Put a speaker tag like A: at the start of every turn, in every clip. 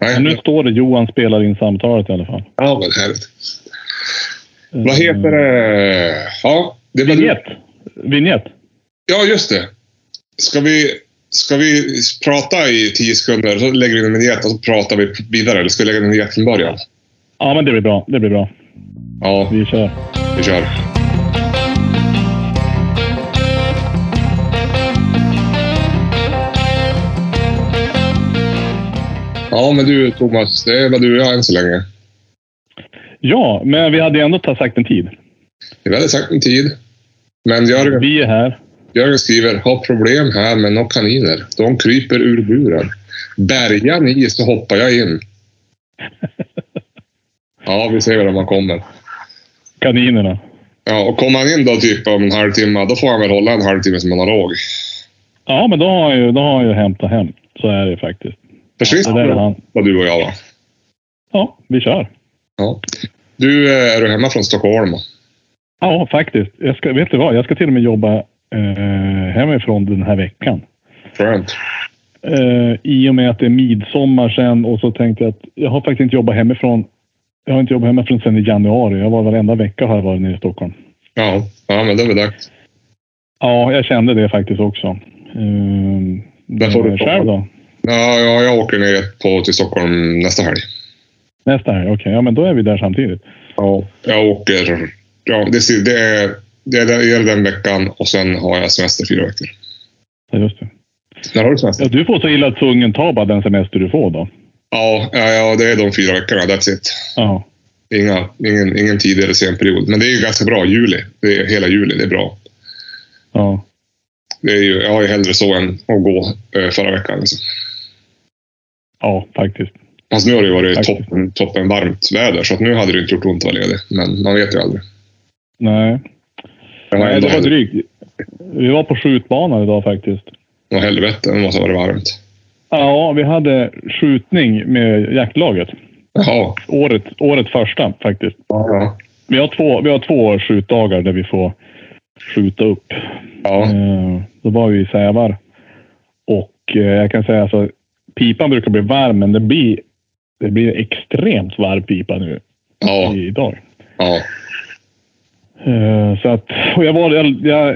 A: Nej.
B: Men nu står det Johan spelar in samtalet i alla fall. Eh,
A: Ja, men härligt. Vad heter det? Ja, det var du.
B: Vinjett. Vinjett.
A: Ja, just det. Ska vi, ska vi prata i tio sekunder, så lägger vi in en vignett och så pratar vi vidare? Eller ska vi lägga in en vignett från början?
B: Ja, men det blir bra. Det blir bra.
A: Ja,
B: Vi kör.
A: vi kör. Ja, men du Thomas, det var du och jag än så länge.
B: Ja, men vi hade ändå tagit sagt en tid.
A: Vi hade sagt en tid. Men Jörgen,
B: Vi är här.
A: Jörgen skriver, har problem här med några kaniner. De kryper ur buren. Bärga ni så hoppar jag in. Ja, vi ser väl om han kommer.
B: Kaninerna.
A: Ja, och kommer han in då typ om en halvtimme, då får han väl hålla en halvtimme som monolog.
B: Ja, men då har han ju, då har han ju hämtat hem. Så är det faktiskt.
A: Precis
B: Det där är han.
A: vad du och jag va?
B: Ja, vi kör.
A: Ja. Du, eh, är du hemma från Stockholm? va?
B: Ja, faktiskt. Jag ska, vet du vad? Jag ska till och med jobba eh, hemifrån den här veckan.
A: Skönt.
B: Eh, I och med att det är midsommar sen och så tänkte jag att jag har faktiskt inte jobbat hemifrån. Jag har inte jobbat hemifrån sen i januari. Jag var varenda vecka har jag varit nere i Stockholm.
A: Ja, ja men det är väl dags.
B: Ja, jag kände det faktiskt också. Eh,
A: Där får du
B: eh,
A: ta.
B: själv då?
A: Ja, ja, jag åker ner på, till Stockholm nästa helg.
B: Nästa här, okej. Ja, men då är vi där samtidigt.
A: Ja. Jag åker... Ja, det, är- det, är, det, är, det är den veckan och sen har jag semester fyra veckor.
B: Ja, just det.
A: När har du semester?
B: Ja, du får så illa att tungen tar bara den semester du får då.
A: Ja, ja, ja det är de fyra veckorna. That's it.
B: Ja.
A: Inga, ingen, ingen tidigare sen period. Men det är ju ganska bra. Juli. Det är, hela juli, det är bra.
B: ja.
A: Det är ju, jag har ju hellre så än att gå eh, förra veckan. Liksom.
B: Ja, faktiskt.
A: Fast nu har det ju varit
B: Faktiskt.
A: toppen, toppen varmt väder, så att nu hade det inte gjort ont att vara ledig. Men man vet ju aldrig.
B: Nej.
A: Jag har
B: Nej,
A: ändå
B: det var
A: hellre,
B: drygt. Vi var på skjutbanan idag faktiskt.
A: var helvete, det måste ha varit varmt.
B: Ja, vi hade skjutning med jaktlaget.
A: Jaha.
B: Året, året första faktiskt.
A: Ja.
B: Vi har, två, vi har två skjutdagar där vi får skjuta upp.
A: Ja.
B: Eh, Då var vi i Sävar. Och eh, jag kan säga så pipan brukar bli varm, men det blir, det blir extremt varm pipa nu
A: Ja.
B: i- idag.
A: ja.
B: Eh, Så att, och jag, var, jag, jag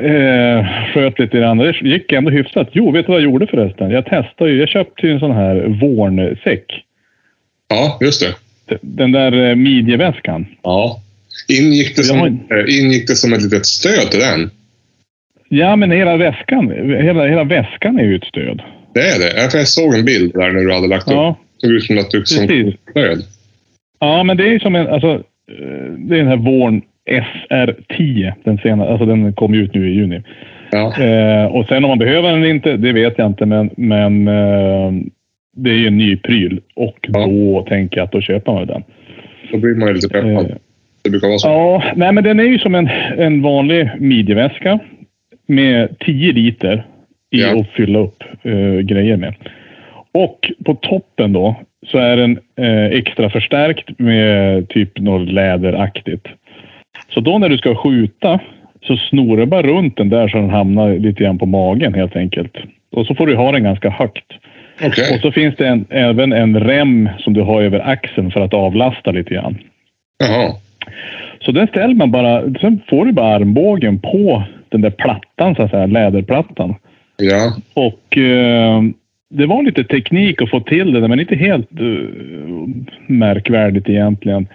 B: eh, sköt lite grann. Det gick ändå hyfsat. Jo, vet du vad jag gjorde förresten? Jag testade ju. Jag köpte ju en sån här vårnsäck.
A: Ja, just det.
B: Den där eh, midjeväskan.
A: Ja. Ingick det, som,
B: Jag
A: eh, ingick det som ett litet stöd till den?
B: Ja, men hela väskan, hela, hela väskan är ju ett stöd.
A: Det är det. Ja, för Jag såg en bild där när du hade lagt upp.
B: Ja,
A: Det såg ut som att du som
B: precis.
A: stöd.
B: Ja, men det är ju som en... Alltså, eh, det är den här Vorn SR10. Den, sena, alltså, den kom ju ut nu i juni.
A: Ja.
B: Eh, och sen om man behöver den eller inte, det vet jag inte. Men, men eh, det är ju en ny pryl. Och
A: Ja.
B: då tänker jag att då köper man den.
A: Då blir man ju lite peppad.
B: Eh,
A: Det brukar vara så.
B: ja, nej men den är ju som en, en vanlig midjeväska. Med 10 liter i
A: Ja.
B: att fylla upp eh, grejer med. Och på toppen då så är den eh, extra förstärkt med typ något läderaktigt. Så då när du ska skjuta så snor du bara runt den där så den hamnar lite grann på magen helt enkelt. Och så får du ha den ganska högt.
A: Okej.
B: Och så finns det en, även en rem som du har över axeln för att avlasta lite grann.
A: Jaha.
B: Så den ställer man bara, sen får du bara armbågen på den där plattan, så att säga, läderplattan.
A: Ja.
B: Och eh, det var lite teknik att få till det där, men inte helt eh, märkvärdigt egentligen.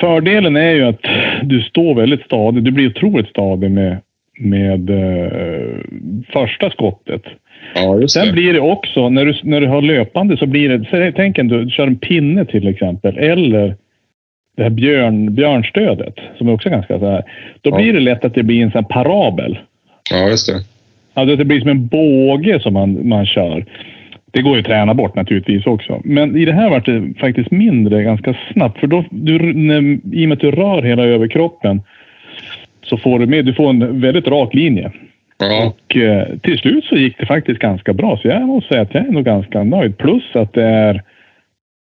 B: Fördelen är ju att du står väldigt stadigt, du blir otroligt stadig med, med eh, första skottet.
A: Ja, just
B: Sen
A: det.
B: blir det också, när du, när du har löpande så blir det... så Tänk om du kör en pinne till exempel, eller det här björn, björnstödet, som är också ganska så här. Då
A: Ja.
B: blir det lätt att det blir en sån här parabel.
A: Ja, just det.
B: Alltså att det blir som en båge som man, man kör. Det går ju att träna bort naturligtvis också. Men i det här vart det faktiskt mindre ganska snabbt. För då, du, när, i och med att du rör hela överkroppen så får du med, du får en väldigt rak linje.
A: Ja.
B: Och eh, till slut så gick det faktiskt ganska bra. Så jag måste säga att jag är nog ganska nöjd. Plus att det är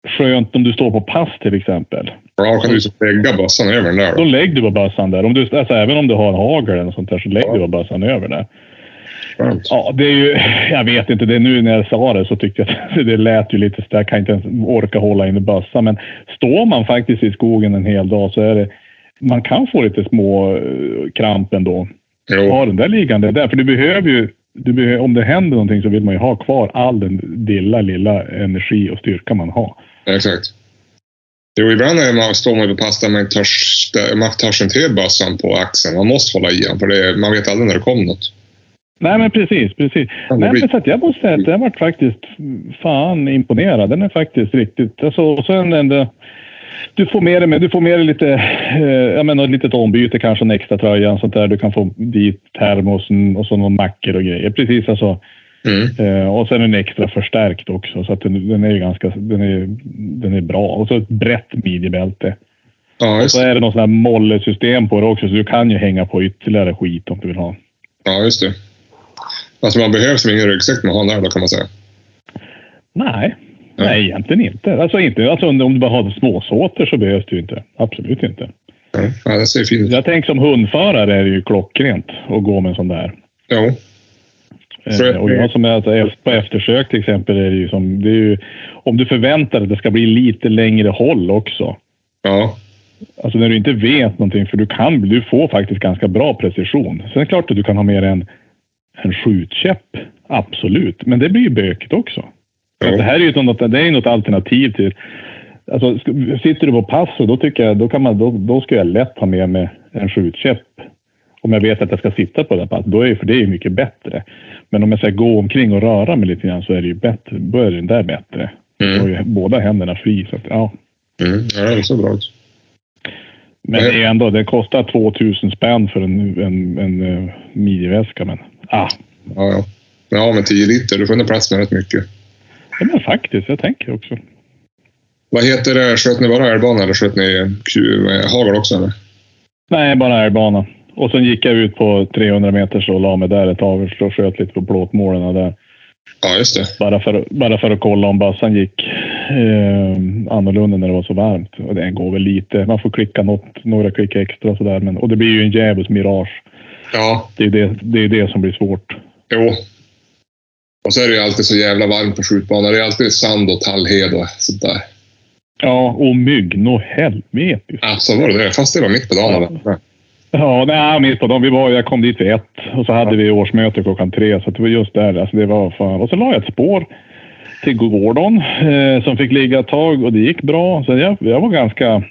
B: skönt om du står på pass till exempel.
A: Ja, kan du så lägga bössan över den där
B: Då
A: då?
B: lägger du bara bössan där. Om du, alltså, även om du har en hagel eller något sånt där så lägger
A: Ja.
B: du bara bössan över där.
A: Skönt.
B: Ja, det är ju, jag vet inte, det är nu när jag sa det så tyckte jag att det lät ju lite så jag kan inte ens orka hålla in i bössan. Men står man faktiskt i skogen en hel dag så är det, man kan få lite små eh, kramp ändå.
A: Jo.
B: Ha den där liggande där, för du behöver ju, du behöver, om det händer någonting så vill man ju ha kvar all den lilla, lilla energi och styrka man har.
A: Exakt. Jo, ibland är man, står man vid pasta med en törs, man törs inte till bössan på axeln. Man måste hålla i den, för det, man vet aldrig när det kommer något.
B: Nej, men precis, precis.
A: Ja, det
B: Nej,
A: blir-
B: men så att jag måste säga att jag varit faktiskt fan imponerad. Den är faktiskt riktigt... Alltså, och sen ändå, du får med dig, men du får med dig lite, eh, jag menar, ett litet ombyte kanske, en extra tröja och sånt där. Du kan få dit termosen och så någon mackor och grejer. Precis alltså.
A: Mm.
B: Eh, och sen en extra förstärkt också så att den, den är ju ganska, den är, den är bra. Och så ett brett midjebälte.
A: Ja, just,
B: Så är det något sånt här mollesystem på det också så du kan ju hänga på ytterligare skit om du vill ha.
A: ja, just det. Alltså man behöver som ingen ryggsäck man har där då kan man säga.
B: Nej.
A: Ja.
B: Nej, egentligen inte. Alltså, inte. alltså om om du bara har småsåter så behövs det ju inte. Absolut inte.
A: Ja, ja det ser fint ut.
B: Jag tänker som hundförare är det ju klockrent att gå med en sån där.
A: Jo. Så-
B: Eh, Och jag som är alltså, eft- på eftersök till exempel är det ju som... Det är ju, om du förväntar dig att det ska bli lite längre håll också.
A: Ja.
B: Alltså när du inte vet någonting, för du kan, du får faktiskt ganska bra precision. Sen är det klart att du kan ha med dig en, en skjutkäpp, absolut. Men det blir ju bökigt också.
A: Jo.
B: Att Det här är ju något, det är ju något alternativ till... Alltså, sk- sitter du på pass så då tycker jag, då kan man, då, då ska jag lätt ha med mig en skjutkäpp. Om jag vet att jag ska sitta på det här passet, då är ju, för det är ju mycket bättre. Men om jag ska gå omkring och röra mig lite grann så är det ju bättre, då är den där bättre.
A: Mm.
B: Då är ju båda händerna fri. Så att, ja.
A: Mm. ja det ser bra ut.
B: Men det är ändå, det kostar 2000 spänn för en, en, en eh, midjeväska. Men, ah,
A: Ja, ja. ja, men 10 liter. Du får ändå plats med rätt mycket.
B: ja, men faktiskt, jag tänker också.
A: Vad heter det? Sköt ni bara älgbana eller sköt ni ku- eh, hagel också? Eller?
B: Nej, bara älgbana. Och sen gick jag ut på 300 meters och la mig där ett tag och slå- sköt lite på plåtmålen där.
A: Ja, just det.
B: Bara för, bara för att kolla om bössan gick eh, annorlunda när det var så varmt. Och den går väl lite. Man får klicka något, några klick extra sådär. Men, och det blir ju en djävulsk mirage.
A: Ja,
B: Det är det, det är det som blir svårt.
A: jo. Och så är det ju alltid så jävla varmt på skjutbanan. Det är alltid sand och tallhed och sånt där.
B: Ja, och mygg. Nå helvete.
A: Ja, så var det det. Fast det var mitt på dagen. Ja.
B: Ja, nej, mitt på dagen. Vi var, jag kom dit vid ett och så hade vi årsmöte klockan tre. Så att det var just där. Alltså det var fan. Och så la jag ett spår till Gordon eh, som fick ligga ett tag och det gick bra. Så jag, jag var ganska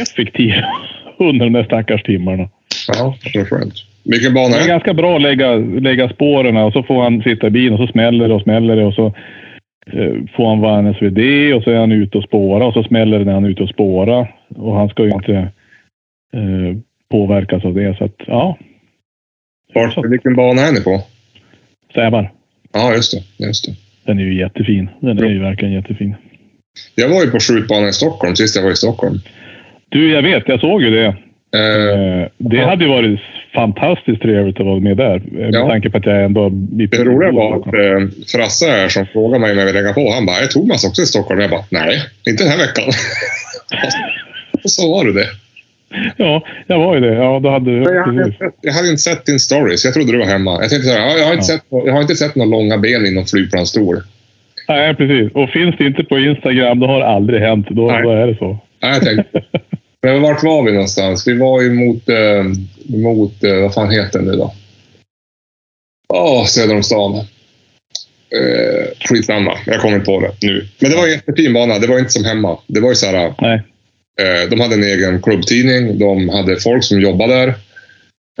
B: effektiv under de där stackars timmarna.
A: Ja, det var skönt. Vilken bana
B: Det är
A: är det?
B: ganska bra att lägga, lägga spåren och så får han sitta i bilen och så smäller det och smäller det och så eh, får han vara en SVD och så är han ute och spåra och så smäller det när han är ute och spåra och han ska ju inte eh, påverkas av det. Så att, ja,
A: Vart, vilken bana är ni på?
B: stävar.
A: Ja, just det. Just det.
B: Den är ju jättefin. Den är ju verkligen jättefin.
A: Jag var ju på skjutbanan i Stockholm sist jag var i Stockholm.
B: Du, jag vet. Jag såg ju det.
A: Eh,
B: Eh, Det
A: Ja.
B: hade ju varit fantastiskt trevligt att vara med där. eh, Med
A: Ja.
B: tanke på att jag ändå... är Lite
A: det roliga var att eh, Frasse här som frågade mig om jag ville lägga på. Han bara, är Thomas också i Stockholm? Jag bara, nej, inte den här veckan. Och så var det det.
B: Ja, jag var ju det. Ja, då hade
A: Men Jag hade,
B: precis.
A: inte sett- Mm. jag hade inte sett din story, så jag trodde du var hemma. Jag tänkte så här, jag, jag, har, inte sett, jag har inte sett några långa ben i någon flygplansstol.
B: Nej, precis. Och finns det inte på Instagram, då har det aldrig hänt. Då,
A: Nej.
B: då är det så.
A: Nej, jag tänkte. Men vart var vi någonstans? Vi var ju mot, eh, mot eh, vad fan heter det nu då? Ja, söder om stan. Eh, skitsamma, jag kommer inte på det nu. Men det var en jättefin bana. Det var inte som hemma. Det var ju så här,
B: Nej.
A: eh, de hade en egen klubbtidning. De hade folk som jobbade där.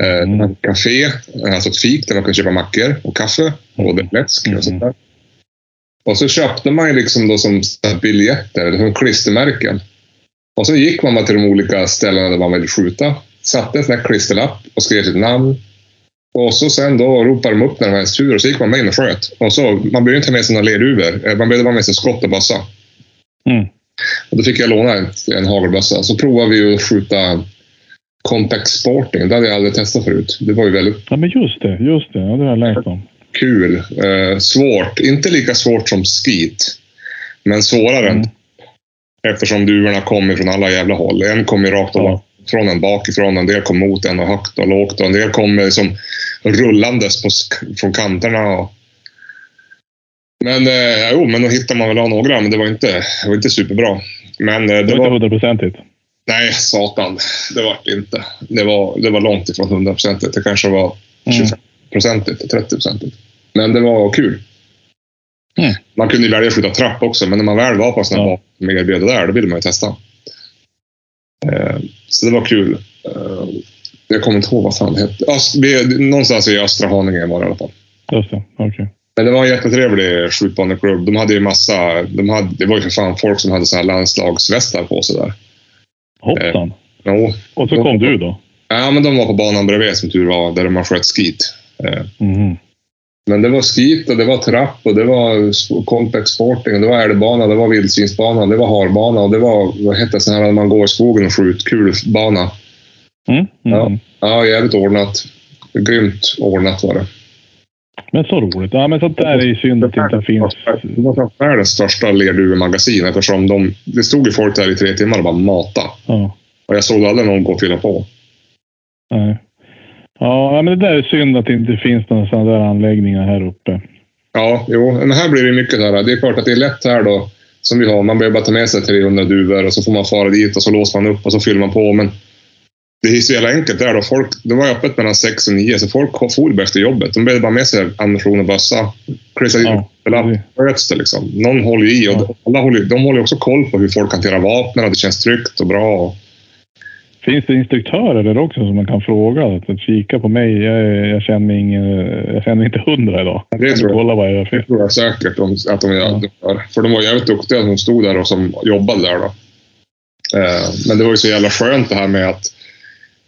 A: Eh, de hade ett café, eh, alltså ett fik där man kunde köpa mackor och kaffe och det läsk och sånt där. Mm. Och så köpte man ju liksom då som så här biljetter, som klistermärken. Och så gick man bara till de olika ställena där man ville skjuta. Satte en sån här klisterlapp och skrev sitt namn. Och så sen då ropade de upp när det var ens tur och så gick man med in och sköt. Och så, man behövde inte ha med sig några lerhuvor. Eh, Man behövde bara ha med sig skott och bössa.
B: Mm.
A: Och då fick jag låna ett, en hagelbössa. Så provade vi att skjuta Compact Sporting. Det hade jag aldrig testat förut. Det var ju väldigt
B: Ja, men just det. Just det. Ja, det har jag läst om.
A: kul. Eh, svårt. Inte lika svårt som skit. Men svårare.
B: Mm.
A: Eftersom duvorna kom från alla jävla håll. En kom ju rakt
B: Ja.
A: från en bakifrån, en del kom mot en och högt och lågt. Och en del kom med liksom rullandes på, sk- från kanterna. Och... Men eh, jo, men då hittade man väl av några, men det var inte, det var inte superbra. Men eh,
B: Det
A: det
B: var inte
A: var...
B: hundraprocentigt.
A: Nej, satan. Det var det inte. Det var, det var långt ifrån 100 procentigt. Det kanske var
B: Mm.
A: 25 procentigt, 30 procentigt. Men det var kul.
B: Mm.
A: Man kunde ju välja att skjuta trapp också, men när man väl var på en sån här
B: Ja.
A: bana som erbjöd det där, då ville man ju testa. Eh, så det var kul. Eh, jag kommer inte ihåg vad fan det hette. Öst, vi- någonstans i östra Haninge var det i alla fall.
B: Just det. Okej.
A: Men det var en jättetrevlig skjutbaneklubb. De hade ju massa... De hade, det var ju för fan folk som hade såna här landslagsvästar på sig där.
B: Hoppsan.
A: Jo,
B: Och så
A: då-
B: kom du då.
A: Ja, men de var på banan bredvid som tur var, där man sköt skit.
B: Mhm.
A: Men det var skit och det var trapp och det var sp- compact sporting och det var älgbana, det var vildsvinsbana, det var harbana och det var, vad hette det, sån här när man går i skogen och skjuter, kulbana.
B: Mm. Mm.
A: Ja. Ja, jävligt ordnat. Grymt ordnat var det.
B: Men så roligt. Ja, men sånt där är ju synd att det inte finns.
A: Det var kanske världens största lerduvemagasin eftersom de, det stod ju folk där i tre timmar och bara mata.
B: Ja.
A: Och jag såg aldrig någon gå och fylla på.
B: Nej. Ja, men det där är synd att det inte finns några sådana där anläggningar här uppe.
A: Ja, jo. Men här blir det mycket där. Det är klart att det är lätt här då. Som vi har, man behöver bara ta med sig 300 duvor och så får man fara dit och så låser man upp och så fyller man på. Men det är så jävla enkelt där då. Folk, det var ju öppet mellan 6 och 9 så folk for bara efter jobbet. De behövde bara med sig ammunition och bössa. Kryssa in
B: Ja.
A: ja. sköts det liksom. Någon håller ju i och
B: Ja.
A: alla håller, de håller ju också koll på hur folk hanterar vapnen och det känns tryggt och bra. Och,
B: Finns det instruktörer där också som man kan fråga? Att att kika på mig. Jag, jag, känner mig ingen, jag känner mig inte hundra idag.
A: det
B: Kan
A: tror
B: du
A: jag,
B: kolla vad jag gör fel?
A: det tror jag säkert de, att de
B: Ja.
A: gör. För de var jävligt duktiga som stod där och som jobbade där. Då. Eh, men det var ju så jävla skönt det här med att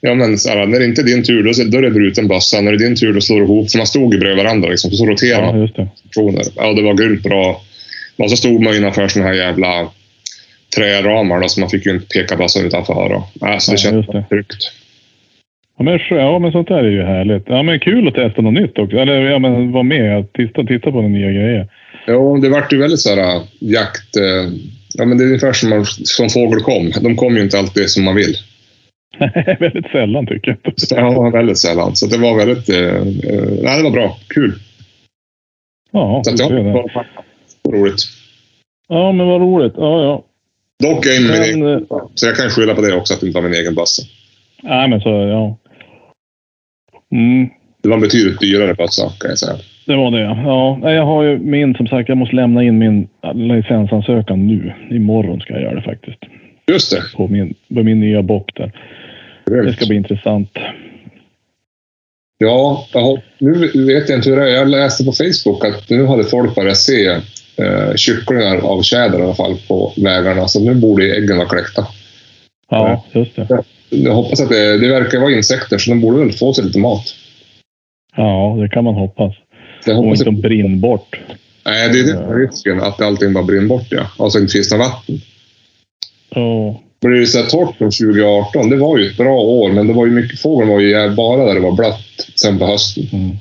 A: Ja, men så här, när det inte är din tur, då, då är det bruten bössa. När det är din tur, då slår du ihop. För man stod ju bredvid varandra. Liksom, så roterade man
B: Ja, just det.
A: personer. Ja, det var grymt bra. Men så stod man innanför såna här jävla träramar då, så man fick ju inte peka bössan utanför. Då. Alltså, det
B: Ja,
A: kändes
B: just det.
A: tryggt.
B: Ja men, skö- ja, men sånt där är ju härligt. Ja, men kul att testa något nytt också. Eller ja, men vara med och titta, titta på de nya grejer.
A: Jo, det vart ju väldigt så här äh, jakt... eh, Ja, men det är ungefär som, man, som fågel kom. De kom ju inte alltid som man vill.
B: Väldigt sällan tycker jag.
A: Ja, väldigt sällan. Så det var väldigt... Eh, eh, nej, det var bra. Kul.
B: Ja,
A: Så att, ja,
B: du
A: det
B: ser det.
A: var roligt.
B: ja men vad roligt. Ja, ja.
A: Dock är jag min egen,
B: Men, eh,
A: så jag kan skylla på det också, att det inte var min egen bössa.
B: nej, men så, ja. Mm,
A: Det var en betydligt dyrare bössa, kan jag säga.
B: det var det, ja. ja. nej, Jag har ju min, som sagt, jag måste lämna in min licensansökan nu. Imorgon ska jag göra det faktiskt.
A: Just det.
B: På min, på min nya bock där. Det
A: Grymt.
B: ska bli intressant.
A: Ja, jag har, nu vet jag inte hur det är. Jag läste på Facebook att nu hade folk börjat se eh, kycklingar av tjäder i alla fall på vägarna. Så nu borde ju äggen vara kläckta.
B: Ja, just det.
A: Jag hoppas att det, det verkar vara insekter, så de borde väl få sig lite mat.
B: Ja, det kan man hoppas.
A: Jag
B: Och
A: hoppas
B: inte
A: att,
B: de brinn bort.
A: nej, det är det som är risken, att allting bara brinner bort. Ja. Alltså inte finns något vatten.
B: Ja.
A: Men det är ju så här torrt från 2018. Det var ju ett bra år, men det var ju mycket fågeln var ju bara där det var blött sen på hösten.
B: Mm.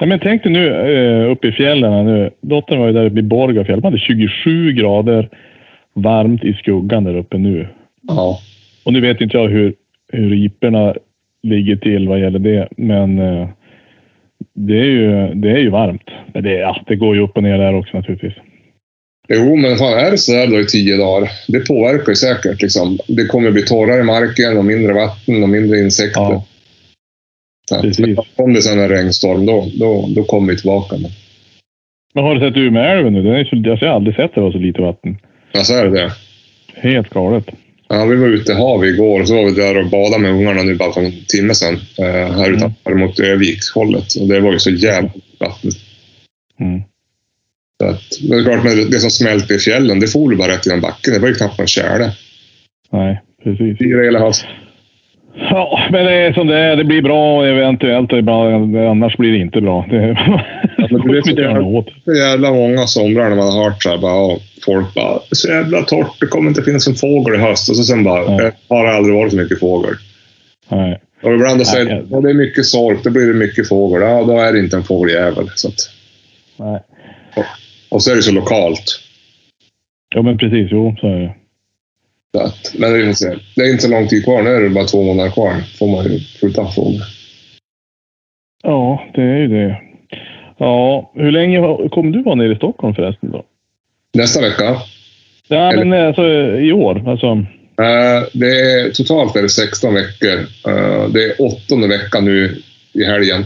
B: Nej, men tänk dig nu eh, uppe i fjällen. här Nu. Dottern var ju där uppe i Borgafjäll. De hade 27 grader varmt i skuggan där uppe nu.
A: Ja.
B: Och nu vet inte jag hur, hur riporna ligger till vad gäller det, men eh, det, är ju, det är ju varmt. Men det, ja, det går ju upp och ner där också naturligtvis.
A: Jo, men fan, är det så här då i tio dagar, det påverkar ju säkert. Liksom. Det kommer bli torrare i marken och mindre vatten och mindre insekter.
B: Ja,
A: Så att-
B: precis.
A: men om det sen är regnstorm, då, då, då kommer vi tillbaka. Men,
B: Men har du sett Umeälven nu? Den är så, alltså, jag har aldrig sett det var så lite vatten.
A: alltså är det det.
B: Helt galet.
A: Ja, vi var ute i havet igår och så var vi där och badade med ungarna nu bara för en timme sedan. Eh, här
B: Mm.
A: utanför mot Övikshållet. Och det var ju så jävla vatten.
B: Mm.
A: Så att, men det är klart, men det- det som smälte i fjällen, det for ju bara rätt genom backen. Det var ju knappt någon tjäle.
B: Nej, precis.
A: Fyra hela hösten.
B: Ja, men det är som det är. Det blir bra eventuellt och ibland, annars blir det inte bra. Det är
A: men du vet
B: får vi inte
A: att
B: göra
A: jag-
B: något åt.
A: så jävla många somrar när man har hört så här, bara, ja, folk bara så jävla torrt, det kommer inte finnas en fågel i höst. Och så sen bara,
B: Ja.
A: "Eh, har det aldrig varit så mycket fågel.
B: Nej.
A: Och ibland då
B: Nej,
A: säger de,
B: jag-
A: ja, det är mycket sork, då blir det mycket fågel. Ja, då är det inte en fågeljävel. Så att,
B: Nej.
A: och så är det så lokalt.
B: Ja, men precis. Jo, så är det.
A: Så att, men vi får se. Det är inte så lång tid kvar. Nu är det bara två månader kvar. får man ju skjuta fågel.
B: Ja, det är ju det. Ja, hur länge har- kommer du vara nere i Stockholm förresten då?
A: Nästa vecka.
B: Ja,
A: Eller-
B: men eh, alltså i år. Alltså,
A: Eh, det är, totalt är det 16 veckor. Eh, det är åttonde veckan nu i helgen.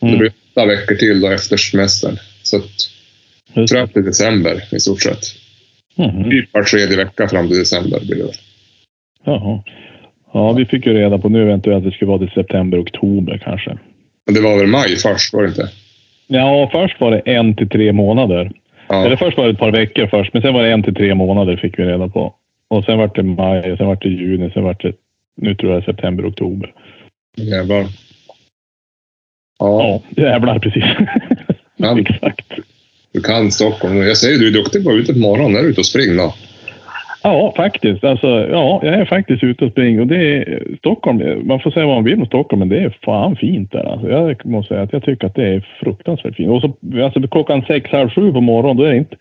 A: Det
B: Mm.
A: blir åtta veckor till då efter semestern. Så att,
B: Just
A: fram till december i stort sett.
B: Mhm.
A: Typ var tredje vecka fram till december blir det.
B: Jaha. Ja, vi fick ju reda på nu eventuellt att det skulle vara till september, oktober kanske.
A: Men det var väl maj först, var det inte?
B: Ja, först var det en till tre månader.
A: Ja.
B: Eller först var det ett par veckor först, men sen var det en till tre månader fick vi reda på. Och sen var det maj, sen var det juni, sen var det nu tror jag september, oktober.
A: Jävlar.
B: Ja,
A: Ja,
B: jävlar precis.
A: Ja.
B: Exakt.
A: du kan Stockholm. Jag säger du är duktig på att vara ute på morgonen. Är du ute och springa?
B: Ja, faktiskt. Alltså, ja, jag är faktiskt ute och springer. Och det är, Stockholm, man får säga vad man vill om Stockholm, men det är fan fint där. Alltså, jag måste säga att jag tycker att det är fruktansvärt fint. Och så, alltså, klockan sex, halv sju på morgonen, då är, det inte,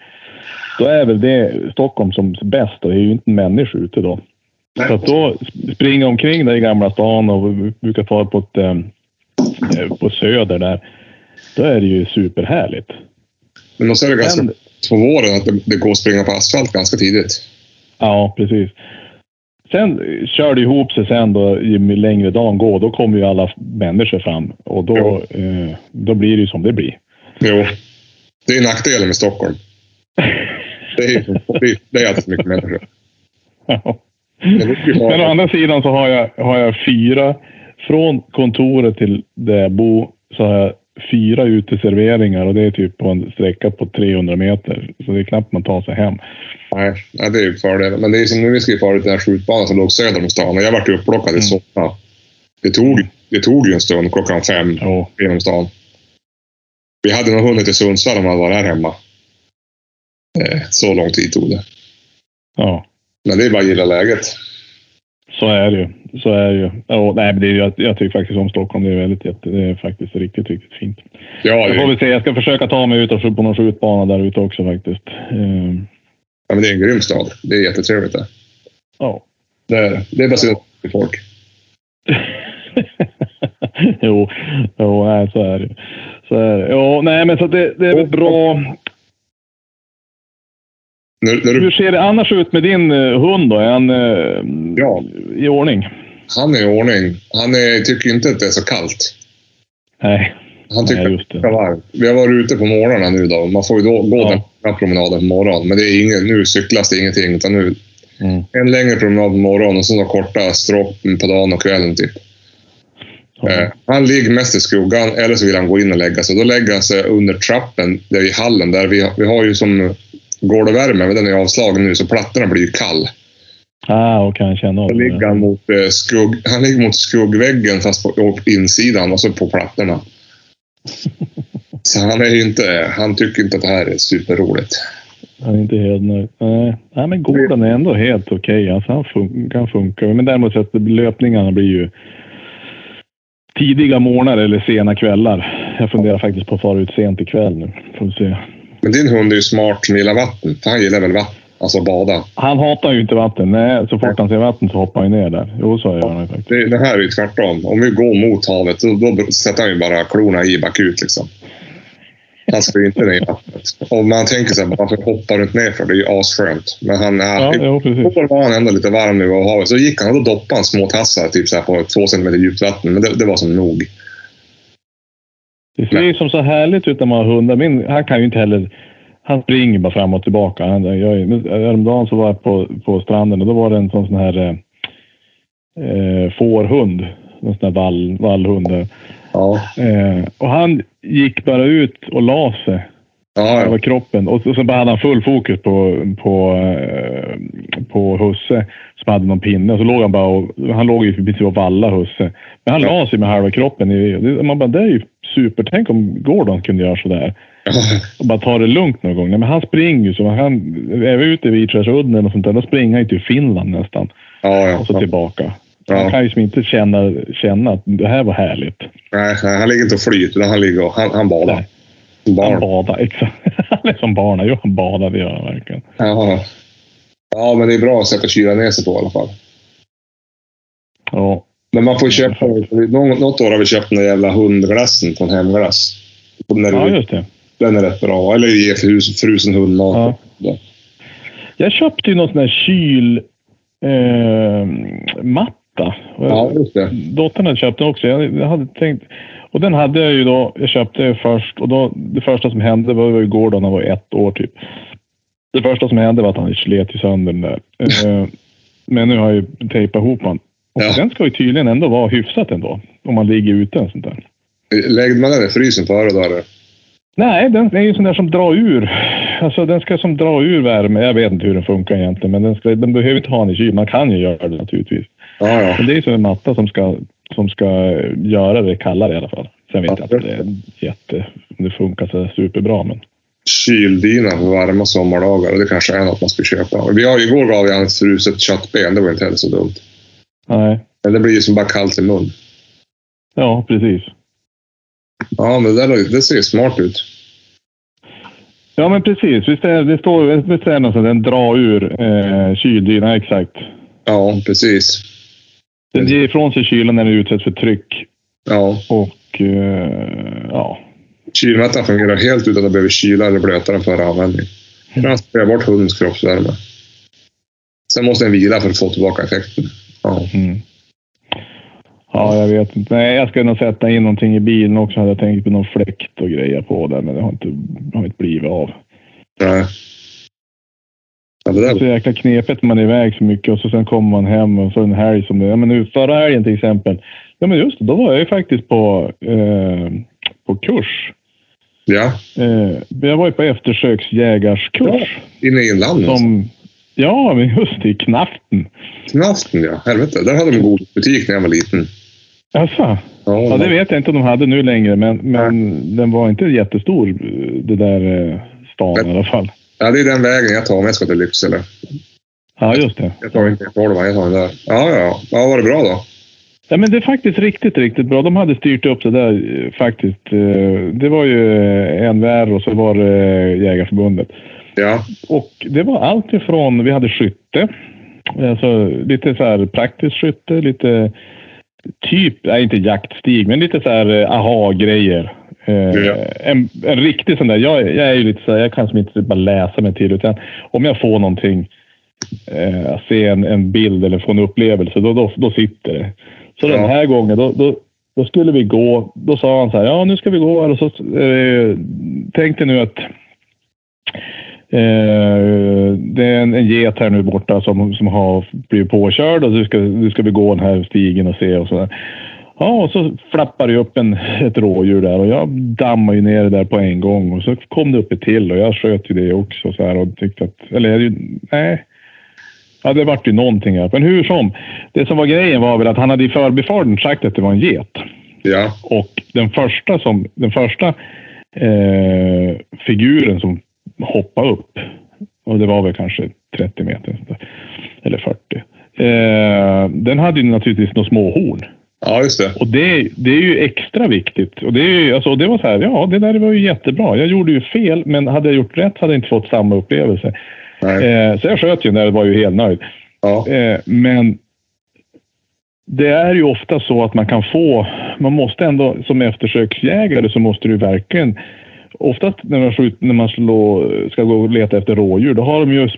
B: då är väl det Stockholm som bäst. Och det är ju inte en människa ute då. Så att då sp- springa omkring där i Gamla stan och vi brukar ta på, ett, eh, på Söder där. Då är det ju superhärligt.
A: Men också är det ganska
B: Men-
A: på våren att det, det går att springa på asfalt ganska tidigt.
B: Ja, precis. Sen eh, kör det ihop sig sen då, ju mer längre dagen går. Då kommer ju alla f- människor fram och då, eh, då blir det ju som det blir.
A: Jo. Det är nackdelen med Stockholm. Det är, det, det är alltid mycket människor. Det borde ju
B: Men å
A: vara-
B: andra sidan så har jag, har jag fyra, från kontoret till där jag bor, så har jag fyra uteserveringar och det är typ på en sträcka på 300 meter. Så det är knappt man tar sig hem.
A: Nej, nej, det är ju fördelen. Men det är som nu vi ska ju fara till den här skjutbanan som låg söder om stan. Och jag vart ju upplockad
B: Mm.
A: i Solna. Det tog, det tog ju en stund, klockan fem,
B: Ja,
A: genom stan. Vi hade nog hunnit till Sundsvall om man var här hemma. Eh, Så lång tid tog det.
B: ja.
A: Men det är bara att gilla läget.
B: Så är det ju. Så är det ju. Ja, nej, men det är, ju- jag, jag tycker faktiskt om Stockholm. Det är, väldigt, jätte- det är faktiskt riktigt, riktigt fint.
A: Ja, det,
B: Jag får
A: ja
B: väl se. Jag ska försöka ta mig ut och skj- på någon skjutbana där ute också faktiskt. Ehm,
A: men det är en grym stad. Det är jättetrevligt där.
B: Ja.
A: Det är det. Det är bara synd att det är folk.
B: jo, jo nej, så är det. Så är det. Jo, nej, men så att det, det är väl bra.
A: När, när
B: Hur
A: du,
B: ser det annars ut med din eh, hund då? Är han eh,
A: ja,
B: i ordning?
A: han är i ordning. Han är, tycker ju inte att det är så kallt.
B: Nej,
A: Han tycker
B: nej
A: att
B: just
A: det är
B: det.
A: varmt. Vi har varit ute på morgnarna nu då. Man får ju då, gå
B: Ja.
A: den här promenaden på morgonen. Men det är ingen, nu cyklas det ingenting. Utan nu
B: Mm.
A: en längre promenad på morgonen och sen då korta stråk på dagen och kvällen. Typ.
B: Ja.
A: Eh, han ligger mest i skuggan eller så vill han gå in och lägga sig. Då lägger han sig under trappen där i hallen. Där vi, vi har ju som golvvärme, men den är avslagen nu så plattorna blir ju kall.
B: Ah, och kan jag känna av
A: Då
B: det.
A: ligger han, mot, eh, skugg, han ligger mot skuggväggen fast på, på insidan och så på plattorna. Så han är ju inte, han tycker inte att det här är superroligt.
B: Han är inte helt nöjd. Nej, nej men Gordon är ändå helt okej. Alltså han fun- kan funka. Men däremot så att löpningarna blir ju tidiga morgnar eller sena kvällar. Jag funderar faktiskt på att fara ut sent ikväll nu. Får vi se.
A: Men din hund är ju smart som gillar vatten. för Han gillar väl vatten? Alltså bada.
B: Han hatar ju inte vatten. Nej, så fort han ser vatten så hoppar han ju ner där. Jo, så gör han ju faktiskt.
A: Det, det här är ju tvärtom. Om vi går mot havet, då, då sätter han ju bara klorna i bakut. Liksom. Han ska ju inte ner i vattnet. Och man tänker sig varför hoppar du inte ner för? Det är ju asskönt. Men han
B: Ja,
A: är...
B: jo, precis.
A: Igår var han ändå lite varm nu av havet. Så gick han och då doppade han små tassar typ så här på två centimeter djupt vatten. Men det, det var som nog.
B: Det ser ju som så härligt ut när man har hundar. Min, han kan ju inte heller... Han springer bara fram och tillbaka. Han, jag, men häromdagen så var jag på, på stranden och då var det en sån, sån här eh, eh, fårhund. En sån här vall, vallhund. där.
A: Ja.
B: Eh, och han gick bara ut och la sig
A: Ja, ja.
B: över kroppen. Och så- sen bara hade han full fokus på, på, eh, på husse som hade någon pinne. Och så låg han bara och, Han låg ju precis och valla husse. Men han
A: Ja.
B: la sig med halva kroppen. I, det- man bara, det är ju super. Tänk om Gordon kunde göra sådär. Och bara ta det lugnt någon gång. Nej, men han springer ju. så Han är vi ute vid Iträsudden eller något sånt där, då springer han ju till Finland nästan.
A: ja, ja.
B: Och så typ- tillbaka.
A: Ja.
B: Han kan ju som inte känna, känna att det här var härligt.
A: Nej, nej, han ligger inte och flyter. utan Han, ligger och, han, han badar.
B: Nej. Han
A: Barn.
B: badar. Exakt. Han är som barn. Jo, han badar. Det gör han verkligen.
A: Ja. ja, men det är bra sätt att kyla ner sig på i alla fall.
B: Ja.
A: Men man får köpa... någon- Något år har vi köpt den där jävla hundglassen från Hemglass. Och Den är,
B: Ja, just det.
A: den är rätt bra. Eller ge frus, frusen hundmat.
B: Ja. Jag köpte ju någon sån där kylmatta. Eh, matta.
A: Ja, just det.
B: Dottern hade köpt den också. Jag jag hade tänkt... Och den hade jag ju då. Jag köpte först och då, det första som hände var, var igår då när han var ett år typ. Det första som hände var att han slet ju sönder den där. Eh, men nu har jag ju tejpat ihop den. Och
A: Ja.
B: den ska ju tydligen ändå vara hyfsat ändå. Om man ligger ute och sånt där.
A: Lägger man den i frysen före då? Eller?
B: Nej, den är ju sån där som drar ur. Alltså den ska som dra ur värme. Jag vet inte hur den funkar egentligen, men den, ska, den behöver inte ha den i kyl. Man kan ju göra det naturligtvis.
A: Ja, ja.
B: Men det är ju som en matta som ska, som ska göra det kallare i alla fall. Sen vet jag inte om det, är jätte, om det funkar så superbra, men
A: Kyldina på varma sommardagar. Och det kanske är något man ska köpa. Vi har, igår gav jag en ett fruset köttben. Det var inte heller så dumt.
B: nej.
A: Men det blir ju som bara kallt i mun.
B: Ja, precis.
A: Ja, men det, där, det ser ju smart ut.
B: Ja, men precis. Visst är det står visst är det något sånt, den drar ur eh, kyldyna, exakt.
A: Ja, precis.
B: Den ger ifrån sig kylan när den utsätts för tryck
A: Ja.
B: och eh, ja,
A: Kylmätaren fungerar helt utan att behöva kyla eller blöta den före användning.
B: Mm.
A: Transportera bort hundens kroppsvärme. Sen måste den vila för att få tillbaka effekten. Ja.
B: Mm. Ja, jag vet inte. Nej, jag ska nog sätta in någonting i bilen också. Hade jag tänkt på någon fläkt och grejer på där, men det har inte, har inte blivit av.
A: Nej. Ja, det
B: Det är
A: där.
B: så jäkla knepigt när man är iväg så mycket och så sen kommer man hem och så en helg som det. Ja, men nu förra helgen till exempel. Ja, men just det, då var jag ju faktiskt på, eh, på kurs.
A: Ja,
B: Eh, jag var ju på eftersöksjägarskurs.
A: inne i inlandet.
B: Som, ja, men just det, i Knaften.
A: Knaften ja, helvete. Där hade de en god butik när jag var liten.
B: Alltså,
A: Ja,
B: Ja, det vet jag inte om de hade nu längre, men, men den var inte jättestor, det där eh, stan i alla fall.
A: ja, det är den vägen jag tar om jag ska till Lycksele.
B: Ja, just det.
A: Jag tar inte tolvan, jag tar den där. Ja, ja, ja. Ja, var det bra då?
B: Ja, men det är faktiskt riktigt, riktigt bra. De hade styrt upp det där eh, faktiskt. Eh, Det var ju eh, NVR och så var det eh, Jägarförbundet.
A: Ja,
B: Och det var allt ifrån, vi hade skytte, alltså lite så här praktiskt skytte, lite typ, nej inte jaktstig, men lite så här eh, aha-grejer. Eh,
A: Ja.
B: en, en riktig sån där, jag, jag är ju lite så här, jag kan som inte bara läsa mig till, utan om jag får någonting, eh, se en, en bild eller få en upplevelse, då, då, då sitter det. Så
A: Ja.
B: den här gången, då, då, då skulle vi gå, då sa han så här, ja nu ska vi gå, eller så eh, tänkte nu att Eh, det är en, en get här nu borta som, som har blivit påkörd och du ska, du ska vi gå den här stigen och se och sådär. Ja, och så flappar det upp en, ett rådjur där och jag dammar ju ner det där på en gång och så kom det upp ett till och jag sköt ju det också så här och tyckte att, eller jag- nej. Ja, det vart ju någonting här. Men hur som. Det som var grejen var väl att han hade i förbifarten sagt att det var en get.
A: ja,
B: Och den första, som, den första eh, figuren som hoppade upp, och det var väl kanske 30 meter, sånt där, eller 40. Eh, den hade ju naturligtvis några små horn.
A: ja just det.
B: Och det, det är ju extra viktigt. Och det, är ju, alltså, och det var så här, ja det där var ju jättebra. Jag gjorde ju fel, men hade jag gjort rätt hade jag inte fått samma upplevelse.
A: Nej.
B: Eh, så jag sköt ju den där och var ju helt nöjd.
A: Ja,
B: Eh, men det är ju ofta så att man kan få, man måste ändå som eftersöksjägare så måste du verkligen, oftast när man, skjut, när man slår, ska gå och leta efter rådjur, då har de ju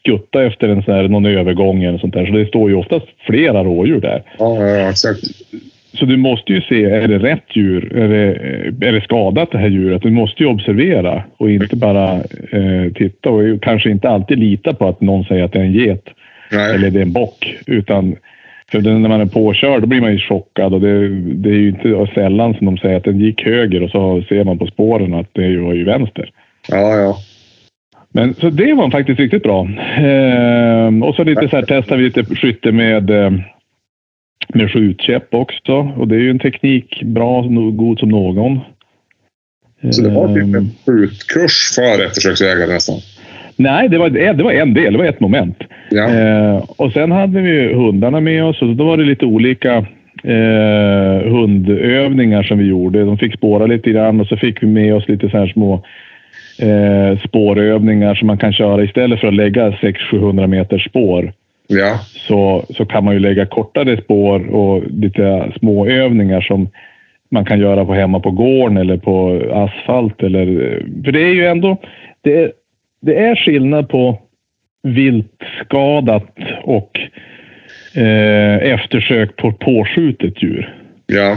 B: skuttat efter en sån här, någon övergång eller sånt där. Så det står ju oftast flera rådjur där.
A: ja, ja exakt.
B: Så du måste ju se, är det rätt djur? Är det, eh, är det skadat det här djuret? Du måste ju observera och inte bara eh, titta och kanske inte alltid lita på att någon säger att det är en get
A: Nej.
B: eller det är en bock. Utan för den- när man är påkörd då blir man ju chockad och det, det är ju inte sällan som de säger att den gick höger och så ser man på spåren att det var ju vänster.
A: Ja, ja.
B: Men så det var faktiskt riktigt bra. Ehm, och så lite så här testade vi lite skytte med eh, med skjutkäpp också och det är ju en teknik bra no- god som någon.
A: Så det var typ
B: Ehm,
A: en skjutkurs för eftersöksjägare nästan.
B: Nej, det var, eh, det var en del. Det var ett moment.
A: Ja,
B: Eh, och sen hade vi ju hundarna med oss och då var det lite olika eh, hundövningar som vi gjorde. De fick spåra lite grann och så fick vi med oss lite så här små eh, spårövningar som man kan köra istället för att lägga 600-700 meters spår.
A: Ja,
B: så, så kan man ju lägga kortare spår och lite små övningar som man kan göra på hemma på gården eller på asfalt. Eller, för det är ju ändå det är, det är skillnad på viltskadat och eh, eftersök på påskjutet djur.
A: ja,